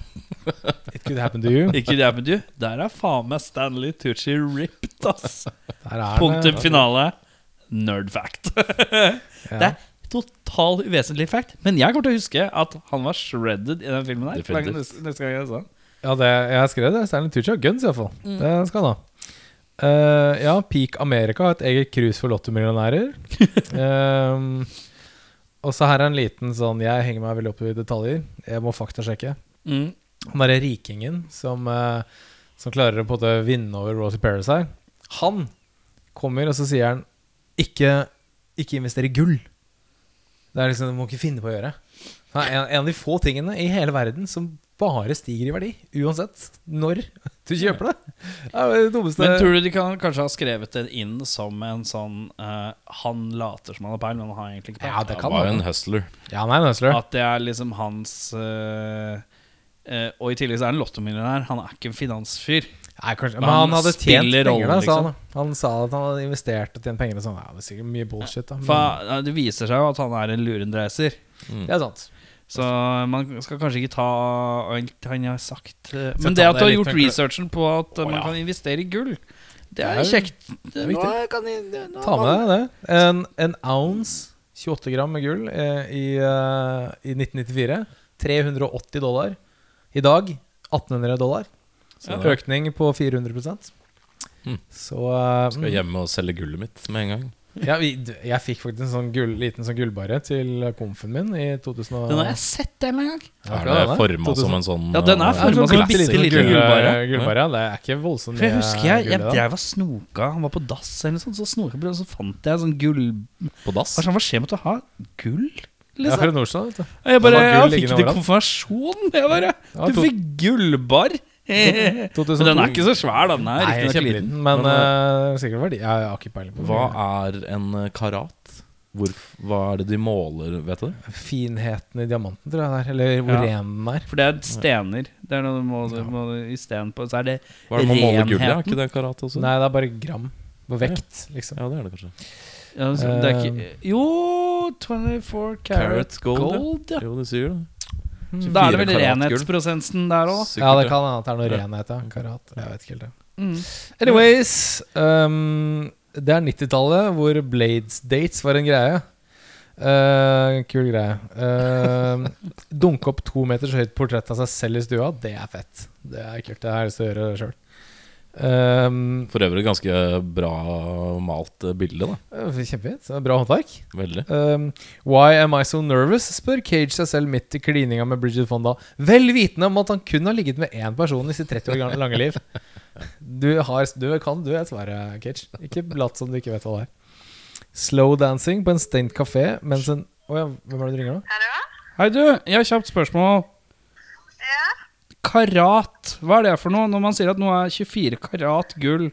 A: It could happen to you.
B: Ikke det, men du. Der er faen meg Stanley Tucci ripped, ass.
A: Der er han,
B: Punktum
A: eh,
B: finale. Nerd fact.
A: ja.
B: Det er total uvesentlig fact, men jeg kommer til å huske at han var shredded i den filmen her. hver gang-
C: Definitivt.
B: Neste gang jeg så den.
A: Ja, det, jeg skrev det. Stanley Tucci har guns, iallfall. Det skal han ha. Eh, ja, Peak America har et eget cruise for lottomillionærer. um, og så her er en liten sånn Jeg henger meg veldig opp i detaljer. Jeg må faktasjekke.
B: Mm.
A: Han derre rikingen som, eh, som klarer å på en måte vinne over Rosie Perez her, han kommer og så sier han ikke, ikke investere i gull. Det er liksom, Du må ikke finne på å gjøre. Det er en, en av de få tingene i hele verden som bare stiger i verdi, uansett når du kjøper det. Det er jo det dummeste
B: Men tror du de kan kanskje ha skrevet den inn som en sånn eh, Han later som han har peil, men han har egentlig ikke peil?
A: Ja, det
C: Han
A: kan
C: var jo en
A: være.
C: hustler.
A: Ja, han er en hustler.
B: At det er liksom hans eh, eh, Og i tillegg så er han lottomillionær. Han er ikke en finansfyr.
A: Nei, kanskje,
B: Men
A: men han
B: han
A: hadde tjent
B: spiller
A: penger,
B: rollen,
A: da, sa
B: liksom.
A: han. Han sa at han hadde investert og tjent penger. Og sånn. Ja, det er sikkert mye bullshit, da. Men,
B: For eh, det viser seg jo at han er en lurendreiser.
A: det er sant.
B: Så man skal kanskje ikke ta alt han har sagt. eh,
A: Så
B: Men
A: ta
B: det at
A: det
B: du har
A: litt
B: gjort
A: med klø-
B: researchen på at eh,
C: Å,
B: man
C: ja.
B: kan investere i gull, det
A: Det
B: er
A: er-
B: kjekt.
A: er
B: Nå
A: viktig.
B: kan de- nå-
A: Ta med deg det. En, en ounce, 28 gram med gull, eh, i, eh, i 1994. 380 dollar. I dag 1800 dollar.
C: Så da
A: Økning på 400
B: Mm.
C: Hmm.
A: Så eh, mm.
C: skal jeg hjem og selge gullet mitt med en gang.
A: ja, vi, d- Jeg fikk faktisk en sånn gull, liten sånn gullbarre til komfen min i 2000 og-
B: Den har jeg sett en eller annen gang.
A: Ja,
C: Er
A: hva
C: det
A: er det?
C: forma som en sånn
B: Ja, den er
C: eh,
A: Ja, sånn
B: formet som en
A: bitte
B: bitte
A: liten
B: liten
A: gull-
B: gullbarre.
A: gullbarre, ja. Det er ikke voldsomt
B: eh, For jeg
A: mye
B: husker jeg, jeg
A: gull i den.
B: drev og snoka. Han var på dass, eller noe sånt, så snoka på det, og så fant jeg sånn gull
C: på dass.
B: Hva er sånn, hva skjer med at du har gull?
A: Jeg er
B: Liksom.
A: fra Nordstrand, vet du.
B: Og jeg bare
A: det var
B: jeg
A: gull
B: fikk
A: liggende
B: det i
A: overalt.
B: konfirmasjon. Jeg bare,
A: Ja,
B: du
A: to-
B: fikk gullbar. Men
A: 2002.
B: den er ikke så svær, da. Den er
A: Nei, den er
B: riktig kjempeliten.
A: Men, eh,
C: Men,
A: sikkert verdi. Jeg har ikke peiling på
C: Hva er en eh, karat? Hvor, hva er det de måler, vet du?
A: finheten i diamanten, tror jeg det er. Eller hvor
B: Ja.
A: ren den er.
B: For det er stener. Det er noe du må, du må i sten på. Så er det
C: Hva er det man måler gullet? i? Er
B: Renheten.
C: ikke det karat også?
A: Nei, det er bare gram på vekt, liksom.
C: Sånn. Ja, det er det kanskje.
B: ja, så, det er ikke, Jo, 24 carat
C: Carat gold, ja.
B: gold, ja.
C: Jo, de sier det.
A: Mm.
B: Da er det vel
C: 24 karat gull.
B: renhetsprosenten der òg, da.
A: Ja, det
C: Sikkert,
A: kan hende at det er noe
C: Ja.
A: renhet, ja. Karat. Jeg vet ikke helt det.
B: Mm.
A: Anyways ehm, Det er 90-tallet hvor Blades dates var en greie. Eh, kul greie. Eh, dunke opp to meters høyt portrett av seg selv i stua, det er fett. Det er kult. Det har jeg lyst til å gjøre Um, sjøl.
C: For øvrig ganske bra malt eh, bilde, da.
A: Kjempefint. Bra håndverk.
C: Veldig.
A: Um, Why am I so nervous? spør Cage seg selv midt i klininga med Bridget Fonda. Vel vitende om at han kun har ligget med én person i sitt 30 år gang- lange liv. Du, har, du kan du vet svaret, Cage. Ikke lat som du ikke vet hva det er. Slow dancing på en stengt kafé mens en Å ja, hvem er det du ringer nå?
E: Hallo?
B: Hei, du. Jeg har kjapt spørsmål.
E: Ja,
B: Karat, hva er det for noe? Når man sier at noe er 24 karat gull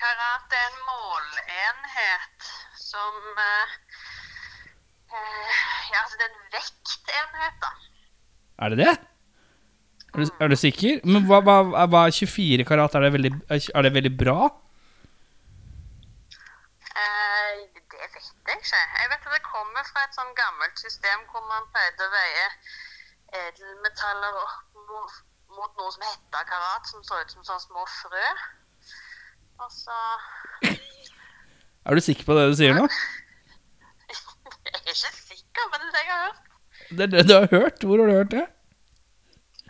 E: karat er en målenhet som eh, eh, Ja, altså det er en vektenhet, da.
B: Er det det? Er du, er du sikker? Men hva, hva, er- hva er 24 karat? Er det veldig, er det veldig bra?
E: Eh, det vet jeg ikke. Jeg vet at det kommer fra et sånn gammelt system hvor man pleide å veie edelmetaller opp mot, mot noe som heter karat, som så ut som sånne små frø. Og så
B: Er du sikker på det du sier nå?
E: Jeg er ikke sikker, men det er det jeg har hørt.
B: Det er det du har hørt? Hvor har du hørt det?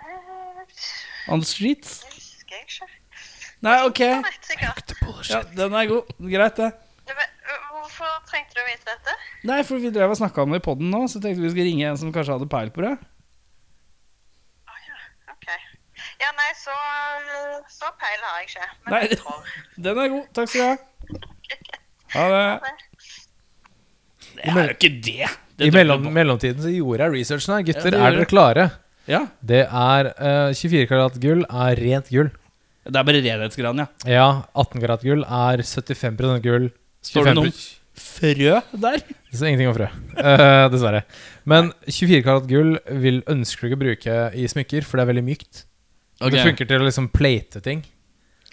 E: Eh,
B: On the streets?
E: husker jeg ikke.
B: Nei, ok.
E: Jeg vet sikkert.
B: Ja, den er god. Greit, det.
E: Du vet- Hvorfor trengte du å vite dette?
B: Nei, for vi drev og snakka om det i poden nå, så tenkte vi skulle ringe en som kanskje hadde peil på det.
E: Å ja, ok. Ja, nei, så, så peil har jeg ikke. Men
B: Nei.
E: jeg tror
B: Den er god. Takk skal du ha. Ha det.
E: det.
B: Det er jo ikke det. det
A: I
B: drømmer
A: mellom,
B: man-
A: mellomtiden så gjorde jeg researchen her.
B: Ja,
A: Gutter,
B: det
A: er
B: gjorde
A: dere klare?
B: Ja.
A: Det er eh, 24 karat gull er rent gull.
B: Det er bare renhetsgran, ja.
A: Ja, 18 karat gull er 75 gull.
B: Står det
A: 25
B: noen frø der?
A: Det står ingenting om frø, Eh, dessverre. Men 24 karat gull vil ønsker du ikke å bruke i smykker, for det er veldig mykt. Det funker til å liksom plate ting.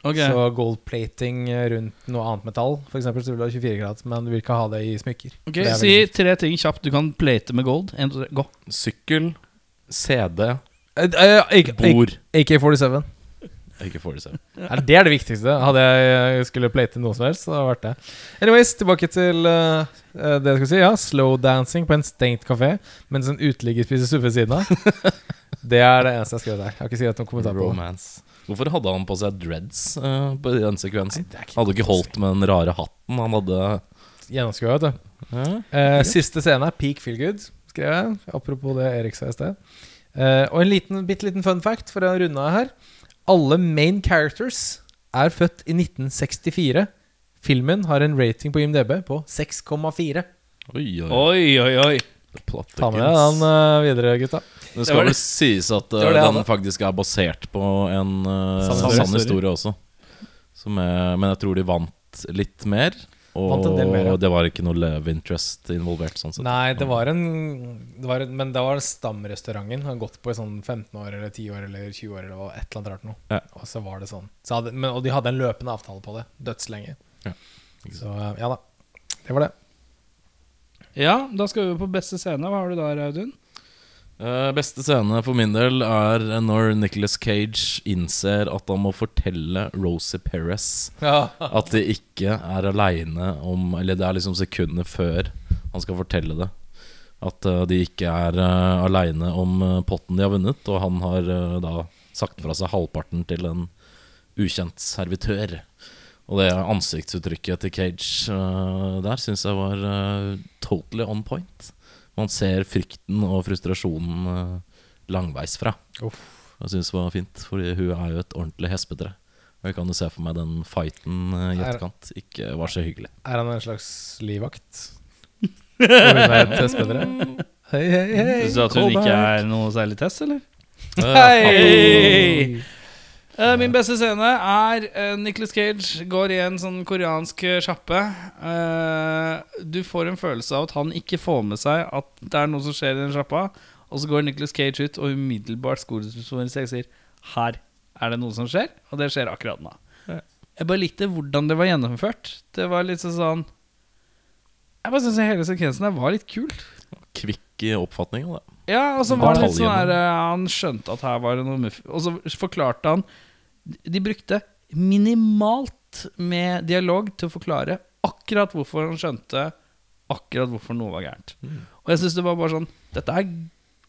A: Så goldplating rundt noe annet metall, f.eks., så vil du ha 24 karat, men du vil ikke ha det i smykker. for
B: Ok,
A: det er
B: Si
A: veldig mykt.
B: tre ting kjapt du kan plate med gold. En, to, tre, gå.
C: Sykkel, CD,
A: Eh, eh, AK-
C: bord.
A: AK-47.
C: Ikke får det selv.
A: Ja, Det er det viktigste. Hadde jeg eh, skulle plate noe som helst, så hadde det vært det. Anyways, tilbake til eh, eh, det jeg skulle si. Ja, slow dancing på en stengt kafé mens en uteligger spiser suppe ved siden av. Det er det eneste jeg har skrevet der. Jeg har ikke skrevet noen kommentar på det.
C: Romance. Hvorfor hadde han på seg dreads eh, på den sekvensen? hadde ikke holdt med den rare hatten han hadde.
A: Gjennomskua, vet du. Eh, siste scene er peak feel good, skrev jeg. Apropos det Erik sa i sted. Eh, og en liten, bitte liten fun fact for å runde av her. Alle main characters er født i 1964. Filmen har en rating på IMDb på 6,4.
C: Oi, oi, oi.
B: Oi, oi, oi.
C: Plattekins.
A: Ta med deg den eh, videre, gutta.
C: Det
B: Det var
C: skal vel
B: det-
C: sies at
A: var
C: eh,
A: det jeg
C: den
A: hadde.
C: faktisk er basert på en eh,
A: Sann
C: sann
A: historie.
C: historie også. Som er, men jeg tror de vant litt mer. Og
A: Vant en del mer, ja.
C: det var ikke noe love interest involvert. sånn sett
A: Nei, det var en, det var en Men det var stamrestauranten. Han hadde gått på i sånn 15 år eller 10 år eller 20 år eller hva- et eller annet rart noe.
C: Ja.
A: Og så var det sånn. Så hadde, men, og de hadde en løpende avtale på det. Dødslenge.
C: Ja.
A: Så ja da. Det var det.
B: Ja, da skal vi over på beste scene. Hva har du der, Audun?
C: Eh, beste scene for min del er når Nicholas Cage innser at han må fortelle Rosie Perez at de ikke er aleine om Eller det er liksom sekundet før han skal fortelle det. At eh, de ikke er uh, aleine om eh, potten de har vunnet, og han har eh, da sagt fra seg halvparten til en ukjent servitør. Og det ansiktsuttrykket til Cage eh, der syns jeg var eh, totally on point. Man ser frykten og frustrasjonen eh, langveisfra. Jeg syns det var fint, fordi hun er jo et ordentlig hespetre. Og jeg kan jo se for meg den fighten eh, i
A: Er-
C: etterkant ikke var så hyggelig.
A: Er han en slags livvakt? Og hun er et testbedre? Hei, hei, hei.
B: Syns du at hun ikke
A: callback.
B: er noe særlig test, eller?
C: Eh, Hei!
B: Eh, min beste scene er uh, Nicholas Cage går i en sånn koreansk eh, sjappe. Eh, du får en følelse av at han ikke får med seg at det er noe som skjer i den sjappa. Og så går Nicholas Cage ut og umiddelbart skolesponsorer seg og sier Her er det noe som skjer, og det skjer akkurat nå. Jeg bare likte hvordan det var gjennomført. Det var litt sånn sånn Jeg bare syns hele sekvensen der var litt kult.
C: Kvikk i oppfatninga, det.
B: Ja, og så var det litt sånn her
C: Detaljene.
B: eh, Han skjønte at her var det noe muff Og så forklarte han De brukte minimalt med dialog til å forklare akkurat hvorfor han skjønte akkurat hvorfor noe var gærent.
A: Mm.
B: Og jeg syns det var bare sånn Dette er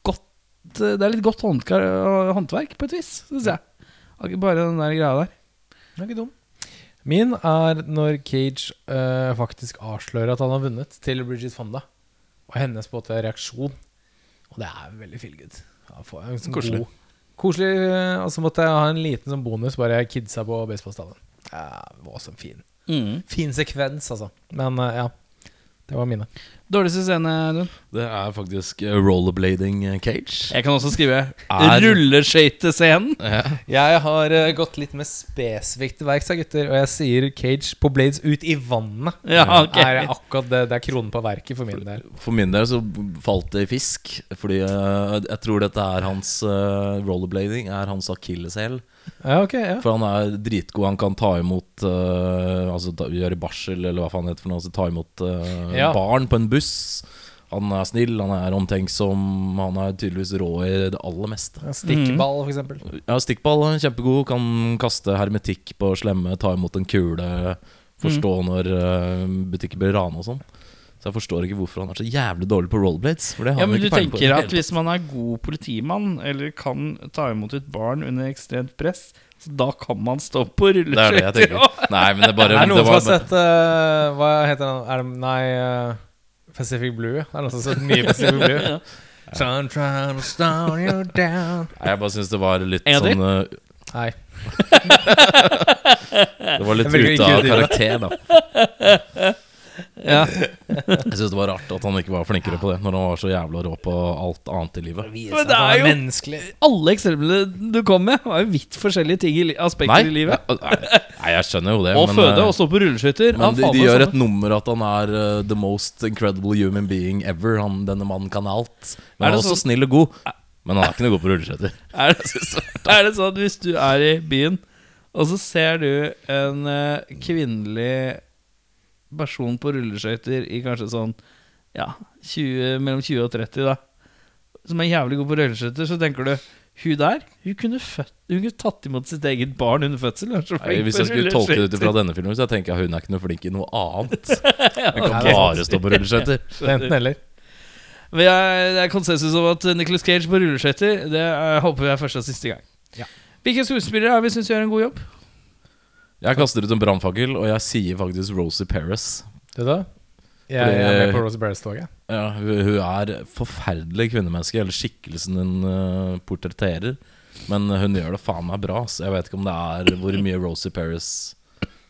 B: godt eh, Det er litt godt håndka- håndverk, på et vis, syns jeg. Og ikke Bare den der greia der.
A: Den er ikke dum. Min er når Cage eh, faktisk avslører at han har vunnet til Bridget Fonda. Og hennes på en måte reaksjon. Og det er veldig feel good. Ja, få en sånn
C: Koselig.
A: god- Koselig. eh, Og så måtte jeg ha en liten sånn bonus, bare jeg kidsa på baseballstadion. Ja, det var også en fin
B: Mm.
A: Fin sekvens, altså. Men eh, ja. Det var mine.
B: Dårligste scene, Audun?
C: Det er faktisk eh, rollerblading eh, cage.
B: Jeg kan også skrive
C: Er-
B: rulleskøytescenen.
A: Jeg har eh, gått litt mer spesifikt til verks, da, gutter. Og jeg sier Cage på Blades ut i vannet.
B: Ja, ok.
A: er akkurat det, det er kronen på verket for min del.
C: For min del så falt det i fisk. Fordi eh, jeg tror dette er hans eh, rollerblading, er hans akilleshæl.
A: Ja, ok, ja.
C: For han er dritgod. Han kan ta imot eh, Altså ta, gjøre barsel, eller hva faen det heter for noe. Altså, ta imot eh,
A: Ja.
C: barn på en buss. Han er snill, han er omtenksom, han er tydeligvis rå i det aller meste.
A: Stikkball, for eksempel.
C: Ja, stikkball er kjempegod. Kan kaste hermetikk på slemme, ta imot en kule. Forstå
B: Mm.
C: når eh, butikker blir rana og sånn. Så jeg forstår ikke hvorfor han er så jævlig dårlig på rollerblades. For det har
B: Ja,
C: han
B: men
C: jo
B: du
C: ikke peiling på i
B: tenker
C: det
B: at
C: hele
B: hvis man er god politimann, eller kan ta imot et barn under ekstremt press, så da kan man stå på
C: tatt. Det er det jeg
B: rulleskøyter?
C: tenker. Nei, men det
A: Er
C: bare
A: det noen
C: det
A: som
C: var
A: har
C: bare-
A: sett eh, Hva heter den? Er det, nei eh, Pacific Blue? Er det noen som har sett mye Pacific Blue? So I'm trying to slow you down
C: Nei, Jeg bare syns det var litt
B: En gang til?
C: sånn eh,
A: Nei.
C: eh, Det var litt
A: Jeg velger
C: ute
A: ikke å
C: av
A: drive.
C: karakter, da.
B: Ja.
C: Jeg syns det var rart at han ikke var flinkere på det, når han var så jævla rå på alt annet i livet.
B: Men det er jo
A: menneskelig.
B: alle eksemplene du kom med, var jo vidt forskjellige ting i li aspekter i livet.
C: Nei, nei, jeg skjønner jo det,
B: Å
C: men,
B: føde
C: eh,
B: og stå på rulleskøyter ja,
C: men de,
B: faen, altså.
C: de
B: det er
C: gjør
B: samme.
C: et nummer at han er eh, the most incredible human being ever. Han, denne mannen kan alt. Men
B: Er
C: han
B: det
C: er også
B: sånn-
C: snill og god. Men han er ikke noe god på rulleskøyter.
B: Er det, er det sånn at hvis du er i byen, og så ser du en eh, kvinnelig person på rulleskøyter i kanskje sånn ja, 20, mellom 20 og 30, da, som er jævlig god på rulleskøyter, så tenker du hun der hun kunne, født, hun kunne tatt imot sitt eget barn under fødsel. Hun er så
C: Nei,
B: flink
C: Hvis
B: på
C: jeg skulle tolke det ut
B: rulleskøyter.
C: fra denne filmen, så tenker jeg hun er ikke noe flink i noe annet. Hun kan
A: ok.
C: bare stå på rulleskøyter.
A: Enten eller.
B: Vi er, det er konsensus om at Nicolas Cage på rulleskøyter Det eh, håper vi er første og siste gang.
A: Ja.
B: Hvilke skuespillere er vi syns gjør en god jobb?
C: Jeg kaster ut en brannfakkel, og jeg sier faktisk Rosie Perez.
A: Du da? Jeg, jeg er med på Rose Barris-toget.
C: Ja, hun, hun er forferdelig kvinnemenneske, eller skikkelsen hun eh, portretterer. Men hun gjør det faen meg bra, så jeg vet ikke om det er hvor mye Rosie Perez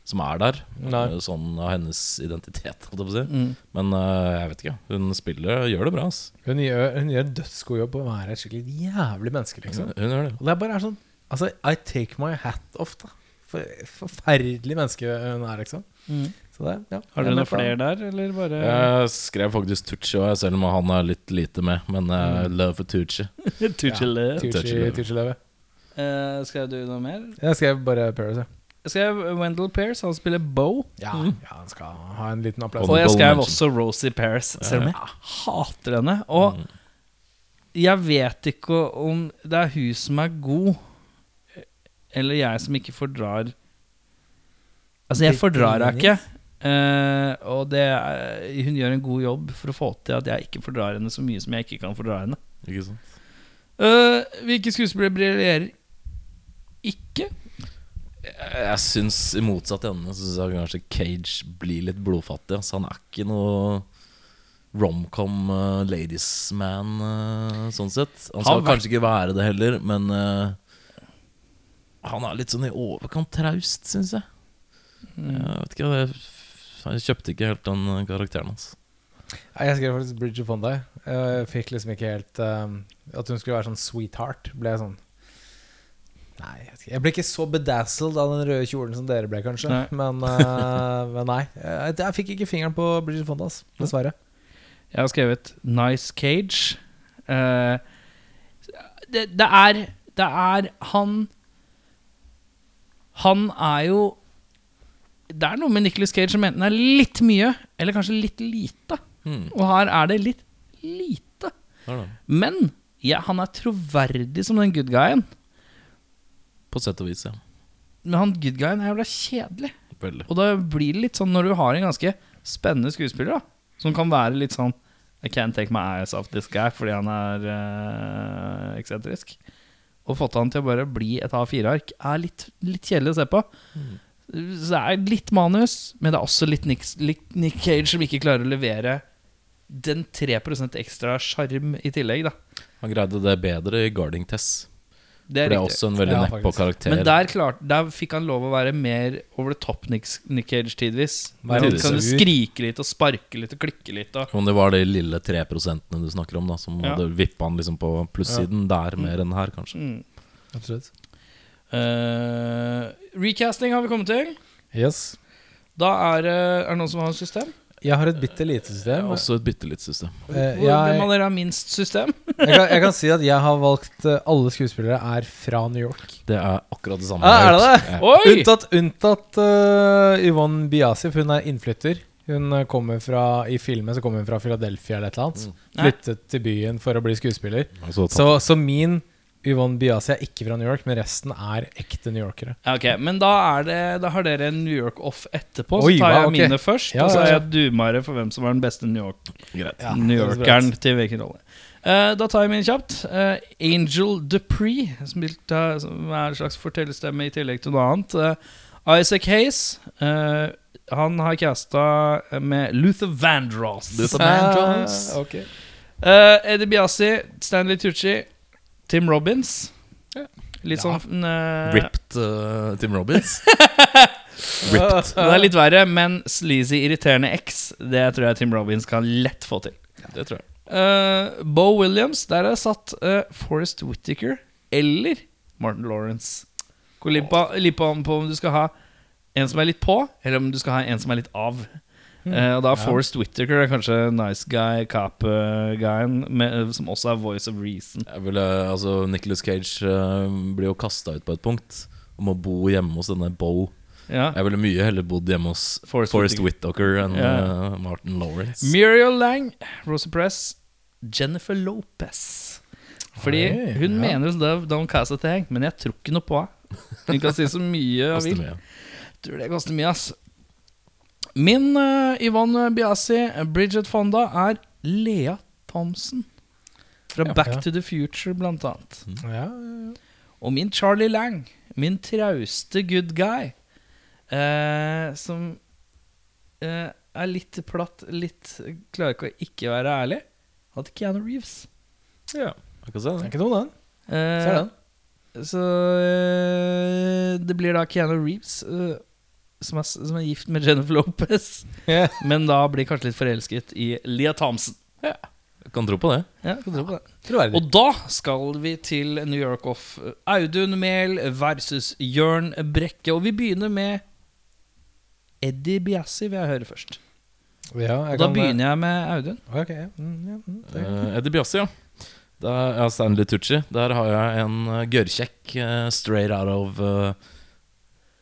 C: som er der.
A: Nei.
C: eh, Sånn av hennes identitet, holdt jeg på å si.
B: Mm.
C: Men eh, jeg vet ikke. Hun spiller eh, gjør det bra, ass.
A: Hun gjør, hun gjør en dødsgod jobb på å være et skikkelig jævlig menneske, liksom.
C: Hun, hun gjør det.
A: Og det er bare er sånn Altså, I take my hat off, da. For, forferdelig menneske hun er, liksom.
B: Mm.
A: Så det, ja.
B: Har dere noen flere der, eller bare
C: Jeg skrev faktisk Tucci òg, selv om han er litt lite med. Men eh, love for Tucci.
B: Tuchel, eh.
A: Tucci-løve?
B: Eh, Skrev du noe mer?
A: Jeg skrev bare Paris, jeg.
B: Jeg skrev Wendell Pears, han spiller Bo.
A: Ja, ja, han skal ha en liten applaus.
B: Og jeg
C: Honorable
B: skrev
C: mention.
B: også Rosie Paris, selv om jeg hater henne. Og jeg vet ikke om det er hun som er god, eller jeg som ikke fordrar Altså, jeg fordrar henne ikke. eh, og det er, hun gjør en god jobb for å få til at jeg ikke fordrar henne så mye som jeg ikke kan fordra henne.
C: Ikke sant?
B: Eh, hvilke skuespillere briljerer ikke?
C: Jeg, jeg syns, i motsatt ende, så syns jeg kanskje Cage blir litt blodfattig. ass. han er ikke noe romcom uh, ladiesman, eh, sånn sett. Han skal
B: Har vært-
C: kanskje ikke være det heller, men eh, han er litt sånn i overkant traust, syns jeg.
B: Mm.
C: Jeg vet ikke, jeg, jeg kjøpte ikke helt den eh, karakteren hans.
A: Nei, Jeg skrev faktisk Bridget Fonda. jeg. Jeg fikk liksom ikke helt um, At hun skulle være sånn sweetheart, ble jeg sånn Nei, jeg, vet ikke. jeg ble ikke så bedazzled av den røde kjolen som dere ble, kanskje.
B: Nei.
A: Men, uh, men nei. Jeg, jeg fikk ikke fingeren på Bridget Fonda, ass, dessverre.
B: Jeg har skrevet 'Nice Cage'. Eh, det, det er Det er han Han er jo Det er noe med Nicholas Cage som enten er litt mye, eller kanskje litt lite.
C: Hmm,
B: Og her er det litt lite.
C: der da.
B: Men ja, han er troverdig som den good guyen.
C: På sett og vis, ja.
B: Men han good guyen er jævla kjedelig.
C: Veldig.
B: Og da blir det litt sånn når du har en ganske spennende skuespiller, da, som kan være litt sånn I can't take my eyes off this guy fordi han er eh, eksentrisk. Og fått han til å bare bli et A4-ark er litt, litt kjedelig å se på.
C: Mm.
B: Så det er litt manus, men det er også litt Nick, litt Nick Cage som ikke klarer å levere den 3 ekstra sjarm i tillegg, da.
C: Han greide det bedre i Guarding Tess.
B: Det
C: For
B: er
C: det er
B: riktig.
C: også en veldig
A: Ja,
C: nedpå
A: faktisk.
C: karakter.
B: Men der, klart, der fikk han lov å være mer over the top Nick, Nick Cage tidvis.
A: Være
B: Han
C: litt
B: kan
A: sur.
B: skrike litt og sparke litt og klikke litt. Og.
C: Om det var de lille 3 du snakker om, da som
B: Ja.
C: hadde vippa han liksom på plussiden der mer enn her, kanskje.
B: Mm.
A: Absolutt.
B: Eh, recasting har vi kommet til.
A: Yes.
B: Da er, det- er det noen som har system?
A: Jeg har et bitte lite system.
C: Også et bitte litt system.
A: Eh,
B: Hvor- Hvem
A: jeg,
B: av dere har minst system?
A: jeg, kan, jeg kan si at jeg har valgt eh, Alle skuespillere er fra New York.
C: Det er akkurat det samme.
A: Ah, er det
C: det?
B: Oi!
A: Unntatt, unntatt eh, Yvonne Biasi, for hun er innflytter. Hun eh, kommer fra, I filmen så kommer hun fra Philadelphia eller et eller annet. Flyttet til byen for å bli skuespiller.
C: Altså, ta-
A: Så, så min Yvonne Biasi er ikke fra New York, men resten er ekte newyorkere.
B: Ja, Ok, Men da, er det, da har dere en New York off etterpå.
A: Oi,
B: så tar jeg
A: hva, ok.
B: mine først.
A: Ja,
B: og så
A: ja,
B: er
A: ja.
B: jeg dumere for hvem som er den beste New York
C: greit.
A: Ja,
B: New
A: det er så
B: Yorkeren til hvilken rolle. Eh, da tar jeg min kjapt. Eh, Angel Dupree, som, spilte- som er en slags fortellerstemme i tillegg til noe annet. Eh, Isaac Hayes. eh, han har casta med Luther Vandross.
C: Luther
A: bra.
C: Vandross.
A: Ah, ok.
B: Eh, Eddie Biasi, Stanley Tucci, Tim Robins. Litt
A: Ja.
B: sånn eh,
C: Ripped eh, Tim Robins. Ripped.
B: Det er litt verre, men sleazy, irriterende X, det tror jeg Tim Robins kan lett få til.
C: Det tror jeg.
B: Eh, Bo Williams, der er satt eh, Forrest Whittaker eller Martin Lawrence. Gå litt på, litt på om på om du skal ha en som er litt på, eller om du skal ha en som er litt av. Eh, og da er Forrest Whittaker er kanskje nice guy, cop-guyen, som også er voice of reason.
C: jeg ville, altså, Nicholas Cage eh, blir jo kasta ut på et punkt om å bo hjemme hos denne Bo.
B: Ja.
C: Jeg ville mye heller bodd hjemme hos
B: Forrest
C: Forrest, Whittaker enn
B: Ja.
C: eh, Martin Lawrence.
B: Muriel Lang, Rosa Press, Jennifer Lopez. Fordi
A: Oi,
B: hun
A: ja.
B: mener jo Don't cast a thing, men jeg tror ikke noe på henne. Hun kan si så mye hun
C: Koster
B: vil.
C: mye.
B: Tror det koster mye, ass. Min eh, Yvonne Biasi, Bridget Fonda, er Lea Thompson. Fra
A: Ja.
B: Back
A: Ja.
B: to the Future, blant annet.
A: Ja,
B: Og min Charlie Lang, min trauste good guy, eh, som eh, er litt platt, litt Klarer ikke å ikke være ærlig. Hadde Keanu Reeves.
C: Ja, jeg kan se
A: det er
C: det.
A: ikke dum, den.
B: Eh,
A: Ser den.
B: Så eh, det blir da Keanu Reeves eh, som er, som er gift med Jennifer Lopez,
A: Ja.
B: men da blir kanskje litt forelsket i Lia Thompson.
C: Jeg Kan tro på det.
B: Ja, kan tro på det.
A: Troverdig.
B: Og da skal vi til New York Off. Audun Mehl versus Jørn Brekke. Og vi begynner med Eddie Biassi, vil jeg høre først.
A: Ja, jeg
B: Da
A: kan- eh,
B: begynner jeg med Audun.
A: Ok, ja. Mm, ja, mm, takk.
C: Eh, Eddie Biassi, ja. Der, ja. Stanley Tucci. Der har jeg en eh, gørrkjekk eh, straight out of eh,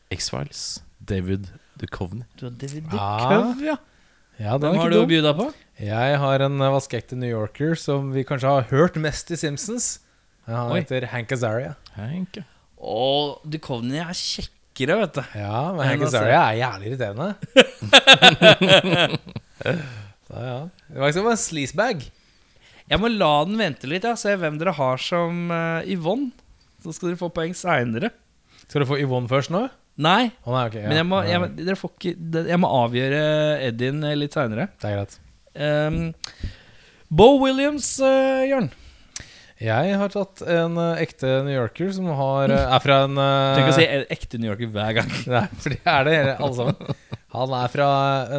C: X-Files. David Duchovny.
B: Du har David
A: Ah.
B: ja.
A: ja, den
B: Hvem
A: er
B: har
A: ikke
B: du å
A: dum.
B: by deg på?
A: Jeg har en eh, vaskeekte New Yorker som vi kanskje har hørt mest i Simpsons. Han
B: Oi.
A: heter Hank Azaria.
C: Hank, ja.
B: Å, Duchovny er kjekkere, vet du.
A: Ja, men
B: Hank
A: Hank Azaria er jævlig irriterende. Så ja. Det var ikke som en sleazebag.
B: Jeg må la den vente litt, ja. se hvem dere har som eh, Yvonne. Så skal dere få poeng seinere.
A: Skal du få Yvonne først nå?
B: Nei,
A: Å nei, ok. Ja.
B: men jeg må, jeg,
A: Ja,
B: dere får ikke, jeg må avgjøre Eddien eh, litt seinere.
A: Det er greit.
B: Um, Bo Williams, eh, Jørn.
A: Jeg har tatt en eh, ekte New Yorker som har, eh, er fra en eh,
B: Tenk å si e- ekte New Yorker hver gang.
A: Nei, for det er det hele, alle sammen. Han er fra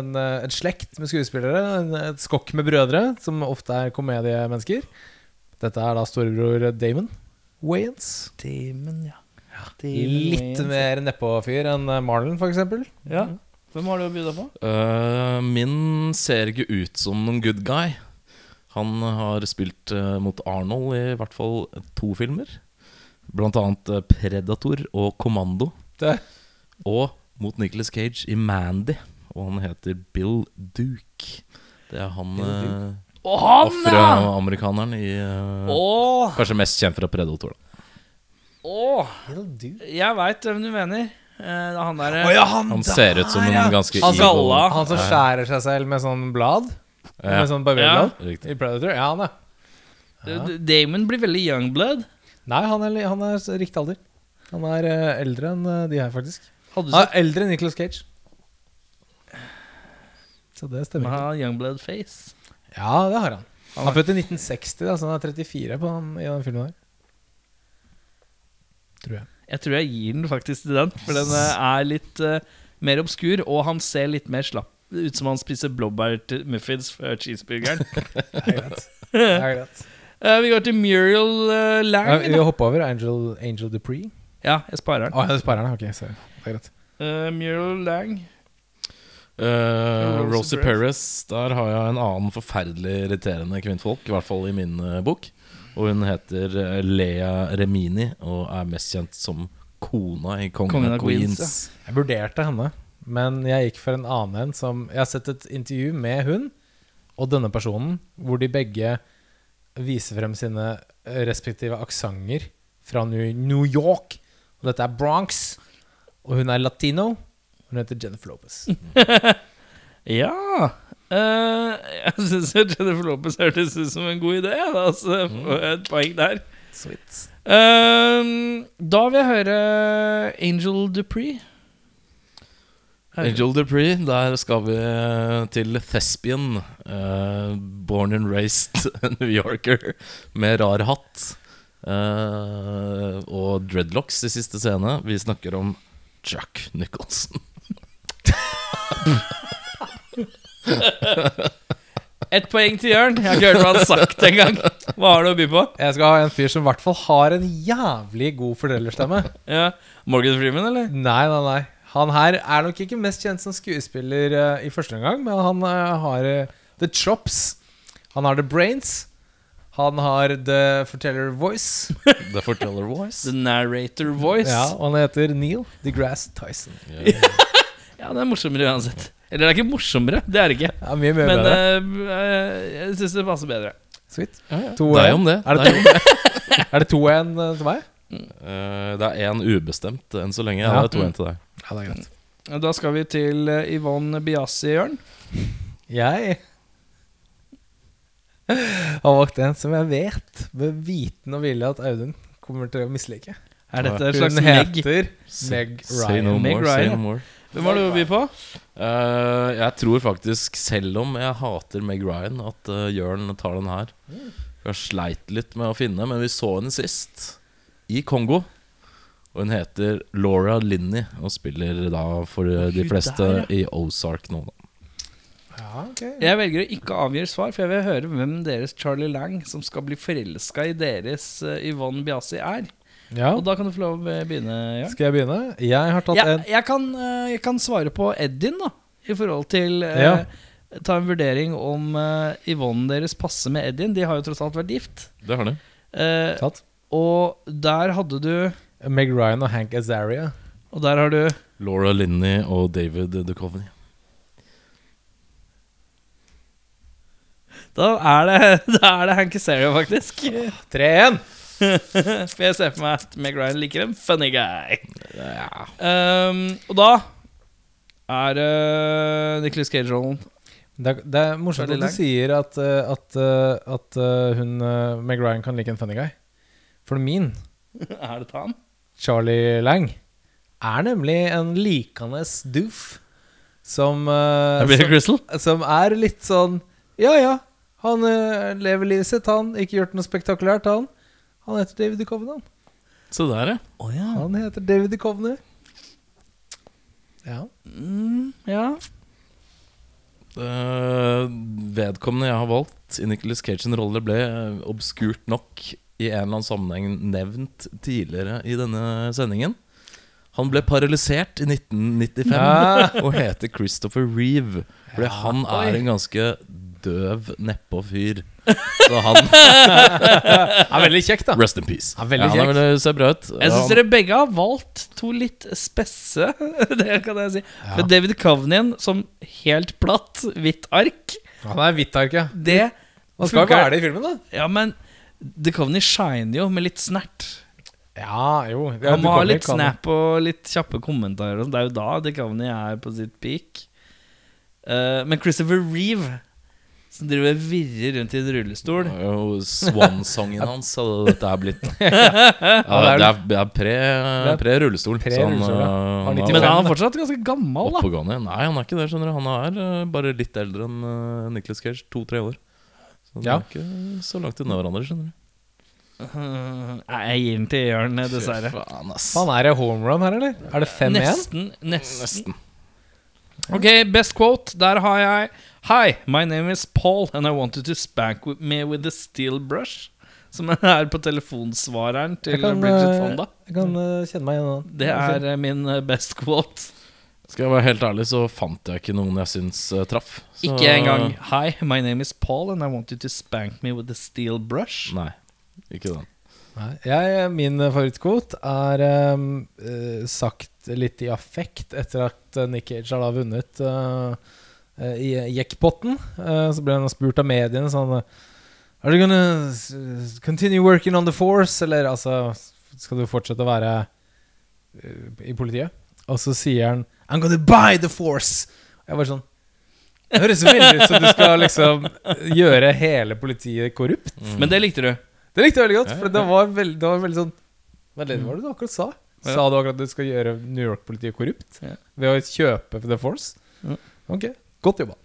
A: en, eh, en slekt med skuespillere, en, et skokk med brødre, som ofte er komediemennesker. Dette er da storebror Damon Wayans.
B: Damon, ja.
A: Litt mer nedpå-fyr enn eh, Marlon, for eksempel.
B: ja. Hvem har du å by deg på?
C: Eh, min ser ikke ut som noen good guy. Han har spilt eh, mot Arnold i hvert fall to filmer. Blant annet eh, Predator og Kommando.
A: Det.
C: Og mot Nicolas Cage i Mandy. Og han heter Bill Duke. Det er han eh,
B: Å, han, ja!
C: afroamerikaneren i eh,
B: Å,
C: Kanskje mest kjent fra Predator, da.
B: å.
A: Han
B: Jeg veit hvem du mener. Eh, det er han der eh,
A: ja, han,
C: Han ser ut som en ganske
B: Han
C: evil-
B: galla.
A: Han som skjærer seg selv med sånn blad?
C: Ja.
A: Med sånn barberblad?
C: Riktig.
A: I Predator? Ja, han er.
B: D- Eh, D- Damon blir veldig youngblood.
A: Nei, han er, li- han er s- riktig alder. Han er eh, eldre enn eh, de her, faktisk.
B: Hadde du
A: Han
B: sett
A: er eldre enn Nicolas Cage. Så det
B: Men
A: stemmer.
B: han
A: ikke.
B: har youngblood face.
A: Ja, det har han. Han er født i 1960, da, så han er 34 på den, i den filmen der. Tror jeg.
B: Jeg tror jeg gir den faktisk til den, for den eh, er litt eh, mer obskur, og han ser litt mer slapp ut som han spiser blåbærmuffins før cheeseburgeren.
A: Det er greit. Det er greit.
B: Eh, vi går til Muriel eh,
A: Ja,
B: Lang.
A: vi
B: da.
A: hopper over Angel, Angel Dupree.
B: Ja, jeg
A: Å,
B: sparer den.
A: ja, det sparer han. Ok, sorry. Det er greit.
B: Eh, Muriel Lang.
C: Eh,
B: Rosie
C: Rosie Perez, der har jeg en annen forferdelig irriterende kvinnfolk, i hvert fall i min eh, bok. Og hun heter eh, Lea Remini og er mest kjent som kona i Kongen,
B: Kongen
C: av Queens.
A: Jeg vurderte henne, men jeg gikk for en annen en som Jeg har sett et intervju med hun og denne personen, hvor de begge viser frem sine eh, respektive aksenter fra New New York. Og dette er Bronx, og hun er latino. Hun heter Jennifer Lopez.
B: Ja. Eh, jeg syns Jennifer Lopez hørtes ut som en god idé. Da, så
A: Mm.
B: får jeg et poeng der.
A: Sweet.
B: Eh, da vil jeg høre Angel Dupree.
C: Angel Dupree, der skal vi eh, til Thespian. eh, born and raised New Yorker med rar hatt. eh, og dreadlocks i siste scene. Vi snakker om Jack Nicholson.
B: Ett poeng til Jørn. Jeg har ikke hørt hva han har sagt engang. Hva har du å by på?
A: Jeg skal ha en fyr som i hvert fall har en jævlig god fortellerstemme.
B: Ja. Morgan Freeman, eller?
A: Nei, nei, nei. Han her er nok ikke mest kjent som skuespiller eh, i første omgang, men han eh, har eh, the chops. Han har the brains. Han har the forteller voice.
C: The Forteller Voice.
B: The narrator voice.
A: Ja,
B: Ja,
A: og han heter Neil deGrasse Tyson.
B: det er morsommere uansett. Eller det er ikke morsommere, det er det ikke.
A: Ja, mye mye
B: Men
A: bedre.
B: eh, jeg syns det passer bedre.
A: Sweet.
C: ja.
A: To
C: Det er jo
A: en.
C: om det.
A: Er det,
C: Det er jo
A: to- er det 2-1 eh, til meg?
C: Eh, det er én ubestemt enn så lenge.
A: Ja.
C: Ja, det er to igjen til deg.
A: Ja, det er greit.
B: Da skal vi til eh, Yvonne Biasi, Jørn.
A: Jeg har valgt en som jeg vet, med viten og vilje, at Audun kommer til å mislike.
B: Er dette en slags
A: Hun
B: Meg?
A: heter
C: Say-
A: Meg
C: Say no
A: Ryan.
B: Meg
C: more, say
B: Ryan,
C: no
B: ja.
C: more.
B: Hvem har du å by på?
C: Eh, jeg tror faktisk, selv om jeg hater Meg Ryan, at uh, Jørn tar den her.
B: Mm.
C: Jeg har sleit litt med å finne, men vi så henne sist. I Kongo. Og hun heter Laura Linney og spiller da for eh, de
B: hun
C: fleste
B: der,
C: i Ozark nå, da.
A: Ja, ok
B: Jeg velger å ikke avgjøre svar, for jeg vil høre hvem deres Charlie Lang som skal bli forelska i deres eh, Yvonne Biasi, er.
A: ja.
B: Og da kan du få lov å begynne, Jørn.
A: Skal jeg begynne? Jeg har tatt
B: Jeg,
A: en
B: jeg, kan, eh, jeg kan svare på Edin, da. I forhold til eh,
A: Ja.
B: Ta en vurdering om eh, Yvonne deres passer med Edin. De har jo tross alt vært gift.
C: Det har de.
B: Eh,
A: tatt.
B: og der hadde du
A: Meg Ryan og Hank Azaria.
B: Og der har du
C: Laura Linney og David Duchovny.
B: Da er det, da er det Hank Azaria, faktisk.
A: 3-1!
B: For jeg ser for meg at Meg Ryan liker en funny guy. Um, og da er det Nicholas Cage-rollen.
A: Det, er- det er morsomt at
B: Charlie
A: du
B: Lang.
A: sier at, eh, at, eh, at eh, hun eh, Meg Ryan kan like en funny guy. For min,
B: Er det han?
A: Charlie Lang, er nemlig en likende doof som eh,
B: Billy
A: som-
B: Crystal?
A: Som er litt sånn Ja, ja. Han eh, lever livet sitt, han. Ikke gjort noe spektakulært, han. Han heter David Duchovny, han.
C: Se der, ja.
B: Oh, ja.
A: Han heter David Duchovny. Ja.
B: Mm, ja.
C: Eh, vedkommende jeg har valgt i Nicolas Cage sin rolle, ble eh, obskurt nok i en eller annen sammenheng nevnt tidligere i denne sendingen. Han ble paralysert i 1995
A: Ja.
C: og heter Christopher Reeve. Fordi han er en ganske døv nedpå-fyr. Så han
A: Er veldig kjekk, da.
C: Rest in peace.
A: Ja, veldig
C: han er veldig- ser bra ut.
B: Jeg syns
C: Han-
B: dere begge har valgt to litt spesse. Det kan jeg si. For David Covenien som helt platt, hvitt ark,
A: Han er hvitt ark, ja.
B: det
A: Han skal jo
B: funker.
A: være det i filmen, da.
B: Ja, men The Coveney shiner jo med litt snert.
A: Ja, jo. Ja, du
B: Han må ha
A: kan-
B: litt
A: kan-
B: snap og litt kjappe kommentarer. og sånn. Det er jo da The Coveney er på sitt peak. Eh, men Christopher Reeve, som driver og virrer rundt i en rullestol
C: Det er jo Swan-sangen hans hadde dette her blitt. Ja, det
A: Ja,
C: er, det er pre, pre rullestol.
A: Pre
C: så han,
A: rullestol, ja.
C: eh,
A: Han er
C: har-
B: Men han
A: da.
B: er fortsatt ganske gammel, da.
C: Oppegående? Nei, han er ikke det. skjønner du Han er eh, bare litt eldre enn uh, Nicholas Cage. To-tre år. Så de
A: Ja.
C: er ikke så langt unna hverandre, skjønner du.
B: Eh, Nei, jeg gir den til Jørn, dessverre.
C: Faen, ass.
A: Faen, er det home run her, eller? Er det 5-1?
B: Nesten, nesten. Ok, best quote. Der har jeg Hi, my name is Paul, and I want you to spank with me with a steel brush. Som er på telefonsvareren til
A: Jeg kan,
B: Bridget
A: eh,
B: Fonda.
A: Jeg kan eh, kjenne meg igjen. da.
B: Det er eh, min eh, best quote.
C: Skal jeg være helt ærlig, så fant jeg ikke noen jeg syns eh, traff. Så-
B: Ikke engang Hi, my name is Paul, and I want you to spank me with a steel brush.
C: Nei. Ikke den.
A: Nei, jeg, Min favorittkvote er ehm, eh, sagt litt i affekt etter at eh, Nick Cage har da vunnet eh, eh, i jackpotten. Eh, så ble han spurt av mediene sånn eh, Are you gonna s- continue working on the force? Eller altså Skal du fortsette å være eh, i politiet? Og så sier han I'm gonna buy the force! Og jeg bare sånn Det høres veldig ut som du skal liksom gjøre hele politiet korrupt.
C: Mm.
B: Men det likte du.
A: Det likte jeg veldig godt, for det var veldig, det var veldig sånn Hva er det var det du akkurat sa?
B: Ja.
A: Sa du akkurat at du skal gjøre New York-politiet korrupt
B: Ja.
A: ved å kjøpe The Force?
B: Ja.
A: Ok, godt jobba.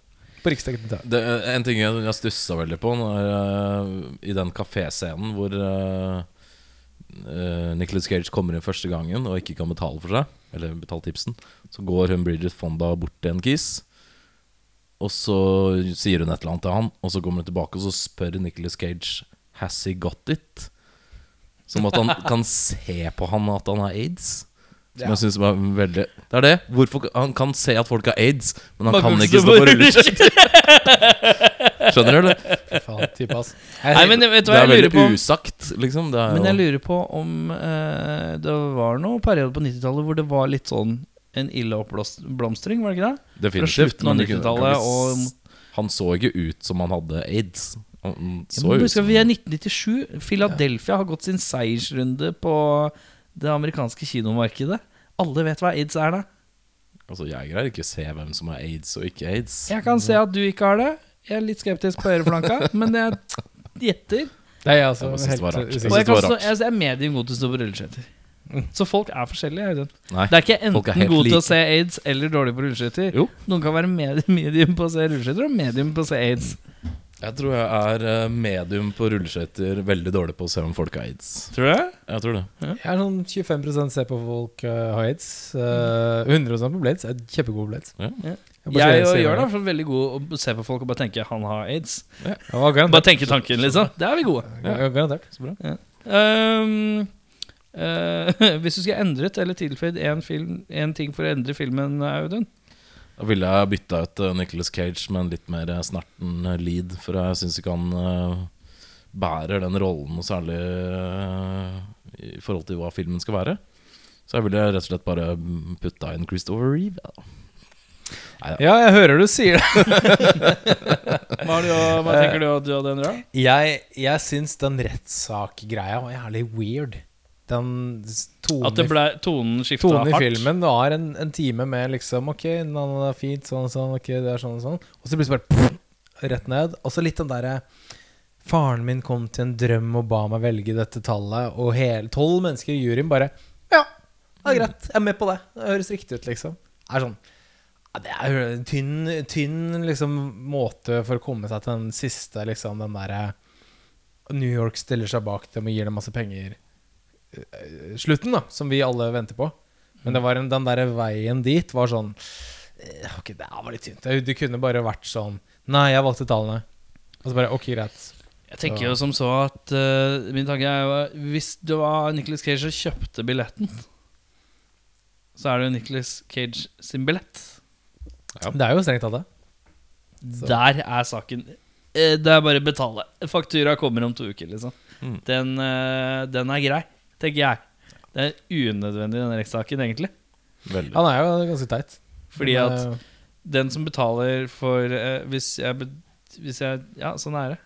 A: På riksdekkende TV.
C: Det, eh, en ting jeg, jeg stussa veldig på, når, eh, i den kaféscenen hvor eh, eh, Nicolas Cage kommer inn første gangen og ikke kan betale for seg, eller betale tipsen, så går hun Bridget Fonda bort til en kis. Og så sier hun et eller annet til han, og så kommer hun tilbake og så spør Nicolas Cage Has he got it? Som at han kan se på han at han har aids. Som jeg synes var veldig Det er det. Hvorfor, han kan se at folk har aids, men han
B: Man
C: kan
B: kan ikke
C: ikke stå
B: stå
C: på
B: på
C: rulleskøyter. Skjønner du, eller?
A: Faen, type, ass.
B: Nei, men vet du
C: Det
B: hva
C: er
B: jeg lurer
C: veldig
B: på?
C: usagt, liksom. Det er
B: Men jeg
C: jo
B: lurer på om eh, det var noen periode på 90-tallet hvor det var litt sånn en ille oppblomstring, var det ikke det?
C: definitivt
B: slutten av
C: men du kunne- kan
B: 90-tallet,
C: ikke s- Han så ikke ut som han hadde aids. Han
B: Ja,
C: så
B: men
C: jo ut
B: husk
C: som
B: at vi er 1997. Philadelphia har gått sin seiersrunde på det amerikanske kinomarkedet. Alle vet hva aids er, da.
C: Altså, jeg greier ikke å se hvem som har aids og ikke aids.
B: Jeg kan se at du ikke har det. Jeg er litt skeptisk på øreflanka, men jeg gjetter.
A: Det er jeg altså
C: Jeg bare synes det var rart.
A: helt usikker.
B: Og
C: Jeg
B: jeg,
C: synes det
B: kan
C: var
B: stå,
C: rart.
B: jeg er medium god til å stå på rulleskøyter. Så folk er forskjellige. Audun.
C: Nei.
B: Det er ikke enten
C: Folk er helt
B: god til
C: like.
B: å se aids eller dårlig på rulleskøyter.
C: Jo.
B: Noen kan være med- medium på å se rulleskøyter og medium på å se aids.
C: Jeg tror jeg er eh, medium på rulleskøyter, veldig dårlig på å se om folk har aids.
B: Tror du det?
C: Jeg tror det.
A: Jeg er sånn 25 ser på folk eh, har aids. eh, 100 på blades. Jeg er kjempegod på blades.
C: Ja.
A: bare
B: Jeg
A: ser-
B: og
A: ser
B: Jørn er i
A: det.
B: hvert fall veldig gode å se på folk og bare tenke 'han har aids'.
A: Ja, garantert.
B: Bare tenke tanken, liksom. Det er vi gode.
A: Ja, garantert. Så bra.
B: Ehm, eh, hvis du skulle endret eller tilføyd én film- én ting for å endre filmen, eh, Audun
C: Da ville jeg bytta ut eh, Nicolas Cage med en litt mer eh, snerten eh, lead, for jeg syns ikke han eh, bærer den rollen noe særlig eh, i forhold til hva filmen skal være. Så jeg ville rett og slett bare mm, putta inn Christopher Reeve. Ja.
A: Ja, jeg hører du sier det.
B: Hva, har du, å- hva tenker du at du hadde endra?
A: Jeg, jeg syns den rettssakgreia var jævlig weird. Den s- tonen,
B: At det
A: i-
B: ble, tonen skifta
A: tonen i
B: hardt?
A: filmen var en, en time med liksom Ok, han er fint, sånn og sånn, ok, det er sånn og sånn. Og så plutselig bare pff, rett ned. Og så litt den derre Faren min kom til en drøm og ba meg velge dette tallet, og hele tolv mennesker i juryen bare Ja, det er greit. Jeg er med på det. Det høres riktig ut, liksom. Det er sånn ja, Det er jo en tynn, tynn liksom, måte for å komme seg til den siste, liksom, den derre New York stiller seg bak dem og gir dem masse penger. eh, Slutten, da, som vi alle venter på. Men det var en, den derre veien dit var sånn eh, Ok, det her var litt tynt. Det- Det kunne bare vært sånn Nei, jeg valgte tallene. Og så bare Ok, greit.
B: Jeg tenker jo som så at eh, Min tanke er jo at Hvis det var Nicolas Cage som kjøpte billetten Så er det jo Nicolas Cage sin billett
C: Ja.
A: Det er jo strengt tatt det.
B: Der er saken Eh, Det er bare å betale Faktura kommer om to uker liksom
C: Mm.
B: den, eh, den er grei, tenker jeg Det er unødvendig den rettssaken egentlig
C: Veldig.
A: Han er jo ganske teit.
B: Fordi
A: Men,
B: at
A: eh,
B: den som betaler for eh, Hvis jeg, be- hvis jeg Ja, sånn er det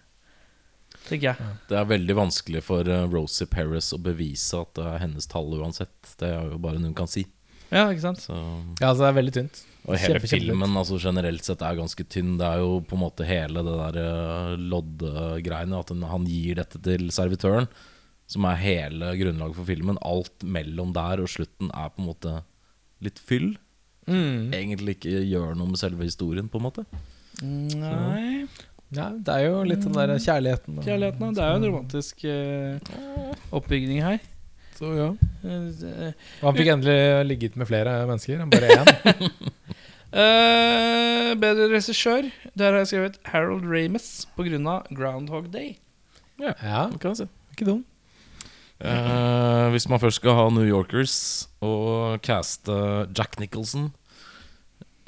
B: Tenker jeg
C: Det er veldig vanskelig for eh, Rosie Perez å bevise at det er hennes tall uansett. Det er jo bare noe hun kan si.
B: Ja, ikke sant?
C: Så
A: Ja, altså, det er veldig tynt.
C: Og hele
A: Kjempe, kjempe
C: filmen altså generelt sett er ganske tynn. Det er jo på en måte hele det der eh, loddegreiene. At hun- han gir dette til servitøren, som er hele grunnlaget for filmen. Alt mellom der og slutten er på en måte litt fyll.
A: Mm.
C: Egentlig ikke gjør noe med selve historien, på en måte.
B: Nei
A: Ja, det er jo litt den der kjærligheten. da.
B: Kjærligheten, da. Det er jo en romantisk eh, oppbygning her.
A: Så, ja.
B: Eh,
A: Og han fikk endelig ligget med flere mennesker enn bare én.
B: eh, bedre regissør. Der har jeg skrevet Harold Ramis pga. Groundhog Day.
A: Ja,
C: Kan jeg si.
A: ikke dum.
C: Eh, hvis man først skal ha New Yorkers og caste Jack Nicholson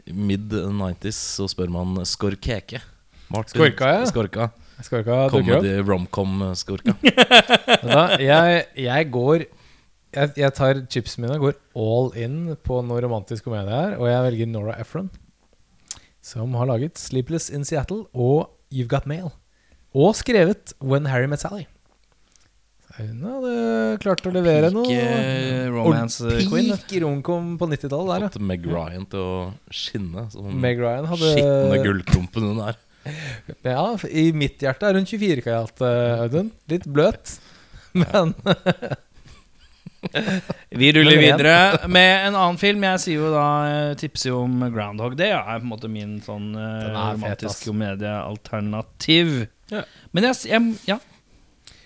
C: mid-90s, så spør man Skorkeke. Martin
A: Skorka, ja.
C: Skorka.
A: Skorka dukker opp.
C: Comedy romcom-skorka.
A: Vet du hva, jeg, jeg går jeg, jeg tar chipsene mine og går all in på noe romantisk komedie her, og jeg velger Nora Ephron, som har laget 'Sleepless in Seattle' og 'You've Got Mail'. Og skrevet 'When Harry Met Sally'. Så Hun hadde klart å levere noe.
B: Ikke eh, romance
A: Ordentlig
B: queen. vet du.
A: Peak romcom på 90-tallet der, ja.
C: fått Meg Ryan til å skinne. Sånn
A: Meg Ryan
C: skitne
A: hadde
C: gullklumpen hun er.
A: Ja, i mitt hjerte er hun 24 karat, eh, Audun. Litt bløt, men
B: Vi ruller
A: Nummer én.
B: videre med en annen film. Jeg sier jo da eh, tipser jo om Groundhog Day. Ja, er på en måte min sånn eh,
A: Den er fet, ass.
B: romantisk komediealternativ.
A: Ja.
B: Men jeg, s- jeg Ja.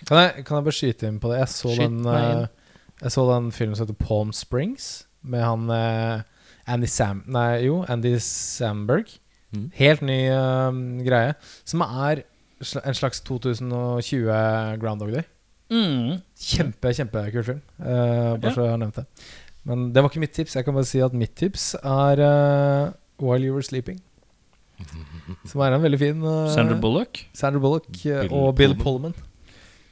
A: Kan jeg, kan jeg bare skyte inn på det? Jeg så,
B: Skyt
A: den,
B: meg inn.
A: eh, jeg så den filmen som heter Palm Springs, med han eh, Andy Sam... Nei, jo, Andy Samberg.
C: Mm.
A: Helt ny eh, greie. Som er sl- en slags 2020 Groundhog Day.
B: Mm.
A: Kjempe, kjempekul film. Eh, bare
B: Ja.
A: så jeg har nevnt det. Men det var ikke mitt tips. Jeg kan bare si at mitt tips er eh, While You Were Sleeping. Som er en veldig fin eh,
B: Sandra Bullock.
A: Sandra Bullock eh,
C: Bill
A: og Bill Pullman.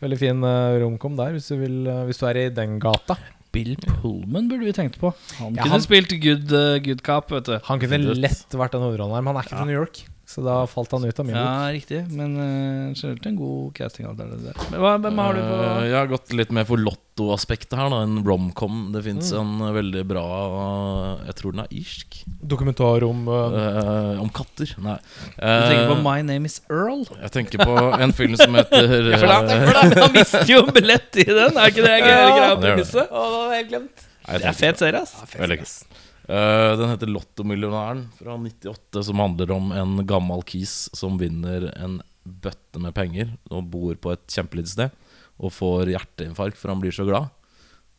A: Veldig fin eh, romcom der, hvis du, vil, eh, hvis du er i den gata.
B: Bill Pullman burde vi tenkt på. Han
A: Ja,
B: kunne
A: han-
B: spilt good, eh, good cop, vet du.
A: Han kunne
C: Absolutt.
A: lett vært en hovedrolle her, men han er ikke fra New York. Så da falt han ut av min bok.
B: Ja, riktig. Men eh, generelt en god casting. alt er det der. Men hva, hvem har du på
C: Eh, jeg har gått litt mer for Lotto-aspektet her. Da, en romcom. Det fins
B: Mm.
C: en veldig bra eh, Jeg tror den er irsk.
A: Dokumentar om eh,
C: Eh, om katter. Nei.
B: Du
C: Eh,
B: tenker på My Name Is Earl?
C: jeg tenker på en film som heter eh,
B: For da, for da, han mister jo en billett i den! Er ikke det greia ja,
C: det gjør det.
B: premisset?
C: Nei, jeg
B: Det er
C: tenker-
B: fet serie, ass.
C: Veldig kult. Eh, den heter Lottomillionæren fra 98, som handler om en gammel kis som vinner en bøtte med penger og bor på et kjempelite sted og får hjerteinfarkt for han blir så glad.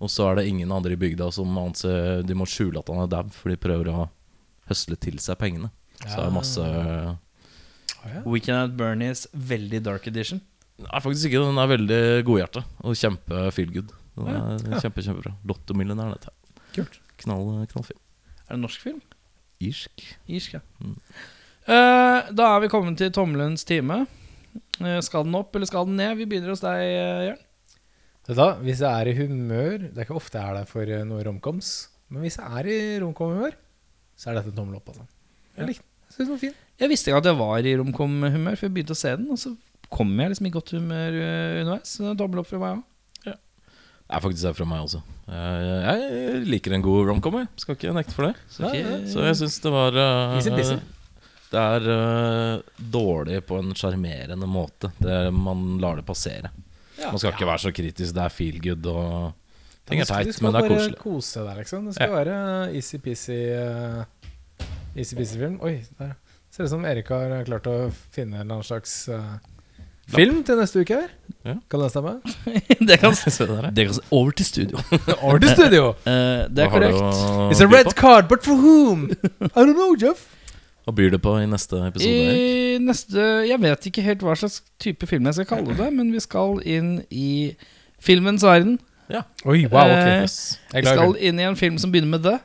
C: Og så er det ingen andre i bygda som anser De må skjule at han er dau, for de prøver å høsle til seg pengene. Så det er masse
B: Weekend at Bernies veldig dark edition.
C: Nei, faktisk ikke. Den er veldig godhjerta og kjempe feel good. Den er Kjempe, kjempebra. Lottomillionæren, dette.
A: Kult.
C: Knall, knallfilm.
B: Er det en norsk film?
C: Irsk.
B: Irsk, ja.
C: Mm.
B: Eh, da er vi kommet til tommelens time. Eh, skal den opp, eller skal den ned? Vi begynner hos deg, eh, Jørn.
A: Vet du hva, hvis jeg er i humør Det er ikke ofte jeg er der for eh, noe romcoms, men hvis jeg er i romcom-humør, så er dette en tommel opp. Altså. Jeg likte den. Jeg synes den var fin.
B: Jeg visste ikke at jeg var i romcom-humør, for jeg begynte å se den. Og så kom jeg liksom i godt humør eh, underveis. Så det er dobbel opp fra meg òg.
C: Det er faktisk det fra meg også. Eh, Jeg liker en god romcom, jeg. Skal ikke nekte for det.
A: Ja, ja,
C: Så jeg syns det var eh,
A: Easy peasy.
C: Det er eh, dårlig på en sjarmerende måte. Det er, man lar det passere.
A: Ja.
C: Man skal ikke være så kritisk. Det er feel good og Ting er
A: Du
C: teit,
A: skal
C: men det er
A: bare
C: koselig.
A: kose deg, liksom. Det skal være eh, easy-peasy Easy-peasy-film. Oi, der. Ser ut som Erik har klart å finne en eller annen slags eh, film til neste uke her.
C: Ja.
A: Kan det stemme?
B: det kan
C: Se der, ja.
B: det kan Over til studio.
A: Art Studio!
B: Eh, det er
C: Hva har du
B: korrekt.
C: å
A: It's a
C: by
A: red
C: på?
A: card, but for whom? I don't know, Jeff.
C: Hva byr du på i neste episode? Erik?
B: I neste Jeg vet ikke helt hva slags type film jeg skal kalle det, men vi skal inn i filmens verden.
A: Oi,
B: wow, ok. Eh,
C: Yes.
A: Jeg
B: Vi
A: er glad i
B: skal inn i en film som begynner med det.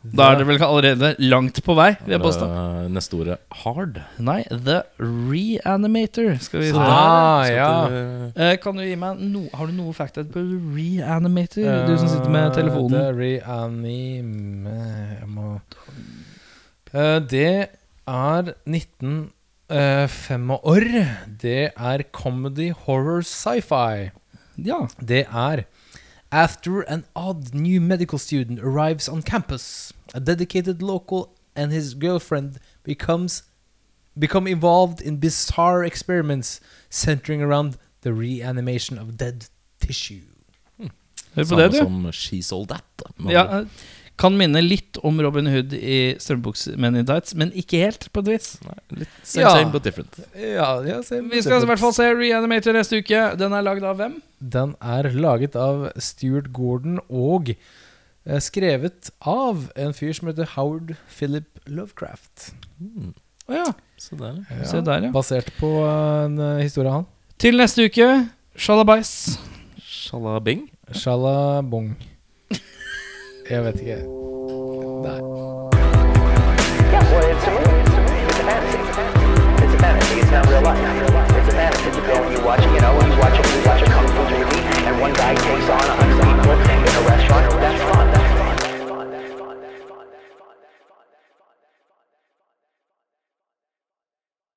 B: Da er det vel allerede langt på vei, vil jeg påstå.
C: Eh, Neste ordet hard.
B: Nei, The Reanimator skal vi
A: Så
B: se.
A: da- Ah,
C: Så
A: ja.
C: det-
B: Eh, Kan du gi meg no, Har du noe fact på The Reanimator, du som sitter med
A: Eh,
B: telefonen?
A: Det reanime... Jeg må Eh, Det er 1905 år. Det er comedy, horror, sci-fi.
B: Ja.
A: Det er After an odd new medical student arrives on campus, a dedicated local and his girlfriend becomes become involved in bizarre experiments centering around the reanimation of dead tissue.
B: Hør på
C: Samme
B: det, du.
C: som She Sold That. da, med
B: Ja,
C: andre ord.
B: eh, kan minne litt om Robin Hood i strømbuksemenn i tights, men ikke helt, på et vis.
C: Same,
A: Ja.
C: same, but different.
A: Ja, ja, se-
B: Vi skal i hvert fall se Reanimator neste uke. Den er lagd av hvem?
A: Den er laget av Stuart Gordon og eh, skrevet av en fyr som heter Howard Philip Lovecraft.
C: Mm.
B: Å ja.
C: Så der, ja.
B: Se der, ja.
A: Basert på en eh, historie av han.
B: Til neste uke, sjalabais.
C: Shalabing.
A: Shalabong. Jeg vet ikke. Nei.
D: Yeah, well, it's a movie. It's a movie. It's a fantasy. It's a fantasy. It's not real life. It's a fantasy. You go and you watch, you know, you watch, a- you watch a kung fu movie, and one guy takes on a hundred people in a restaurant. That's fine.